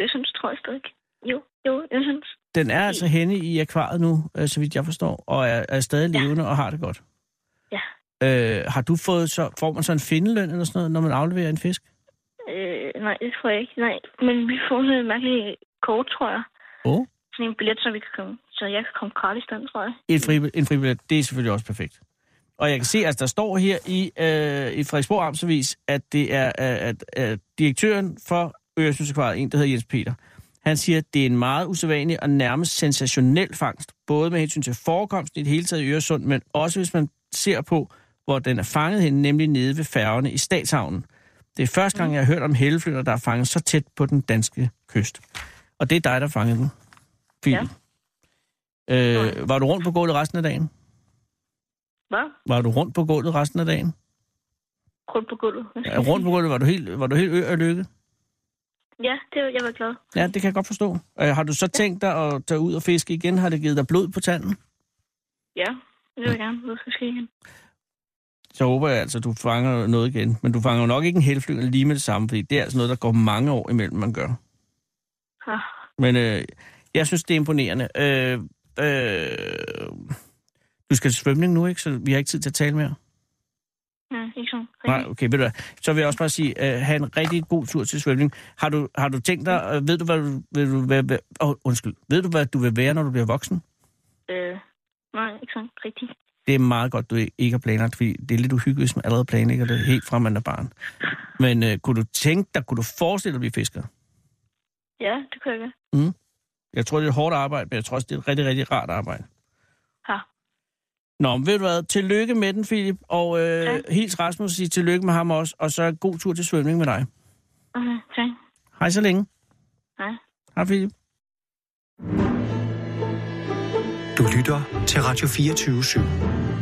Speaker 6: Øresunds, tror jeg stadig. Jo, jo, Øresunds.
Speaker 4: Den er altså henne i akvariet nu, øh, så vidt jeg forstår, og er, er stadig
Speaker 6: Ja.
Speaker 4: levende og har det godt.
Speaker 6: Ja.
Speaker 4: Øh, har du fået så, får man så en findeløn eller sådan noget, når man afleverer en fisk?
Speaker 6: Øh, nej, det tror jeg ikke. Nej, men vi får sådan et mærkeligt kort, tror jeg.
Speaker 4: Åh.
Speaker 6: Sådan en billet, så vi kan komme. Så jeg kan komme gratis den, tror jeg.
Speaker 4: Et fri, en fribillet, det er selvfølgelig også perfekt. Og jeg kan se, at altså, der står her i, øh, i Frederiksborg Amtsavis, at det er øh, at, øh, direktøren for Øresundsakvariet, en der hedder Jens Peter, han siger, at det er en meget usædvanlig og nærmest sensationel fangst, både med hensyn til forekomsten i det hele taget i Øresund, men også hvis man ser på, hvor den er fanget hen, nemlig nede ved færgerne i Statshavnen. Det er første gang, jeg har hørt om helleflynder, der er fanget så tæt på den danske kyst. Og det er dig, der fangede den. Fint.
Speaker 6: Ja.
Speaker 4: Øh, var du rundt på gulvet resten af dagen?
Speaker 6: Hvad?
Speaker 4: Var du rundt på gulvet resten af dagen?
Speaker 6: Rundt på gulvet. hvad skal
Speaker 4: Ja,
Speaker 6: jeg
Speaker 4: rundt på
Speaker 6: sige?
Speaker 4: gulvet, var du helt, var du helt ø af lykke?
Speaker 6: Ja, det, jeg var glad.
Speaker 4: Ja, det kan jeg godt forstå. Øh, har du så tænkt dig at tage ud og fiske igen? Har det givet dig blod på tanden?
Speaker 6: Ja, det vil jeg gerne. Ud skal igen.
Speaker 4: Så håber jeg altså, at du fanger noget igen. Men du fanger jo nok ikke en helflynder lige med det samme, fordi det er altså noget, der går mange år imellem, man gør.
Speaker 6: Ja.
Speaker 4: Men øh, jeg synes, det er imponerende. Øh, øh, du skal til svømning nu, ikke? Så vi har ikke tid til at tale mere.
Speaker 6: Nej, ikke sådan.
Speaker 4: Nej, okay, ved du hvad. Så vil jeg også bare sige, øh, have en rigtig god tur til svømning. Har du, har du tænkt dig, øh, ved du, hvad du, vil du være, hvad, oh, undskyld, ved du, hvad du vil være, når du bliver voksen?
Speaker 6: Øh, nej, ikke sådan. Rigtigt.
Speaker 4: Det er meget godt, du ikke har planlagt, fordi det er lidt uhyggeligt, hvis man allerede planlægger det helt fra, man er barn. Men øh, kunne du tænke dig, kunne du forestille dig at blive fisker?
Speaker 6: Ja, det kunne jeg gøre.
Speaker 4: Jeg tror, det er et hårdt arbejde, men jeg tror også, det er et rigtig, rigtig rart arbejde.
Speaker 6: Ja.
Speaker 4: Nå, men ved du hvad, tillykke med den, Philip, og øh, ja. hils Rasmus og sige tillykke med ham også, og så god tur til svømning med dig.
Speaker 9: Okay, tak.
Speaker 4: Hej så længe.
Speaker 9: Hej.
Speaker 4: Hej, Philip.
Speaker 5: Du lytter til Radio 24 /7.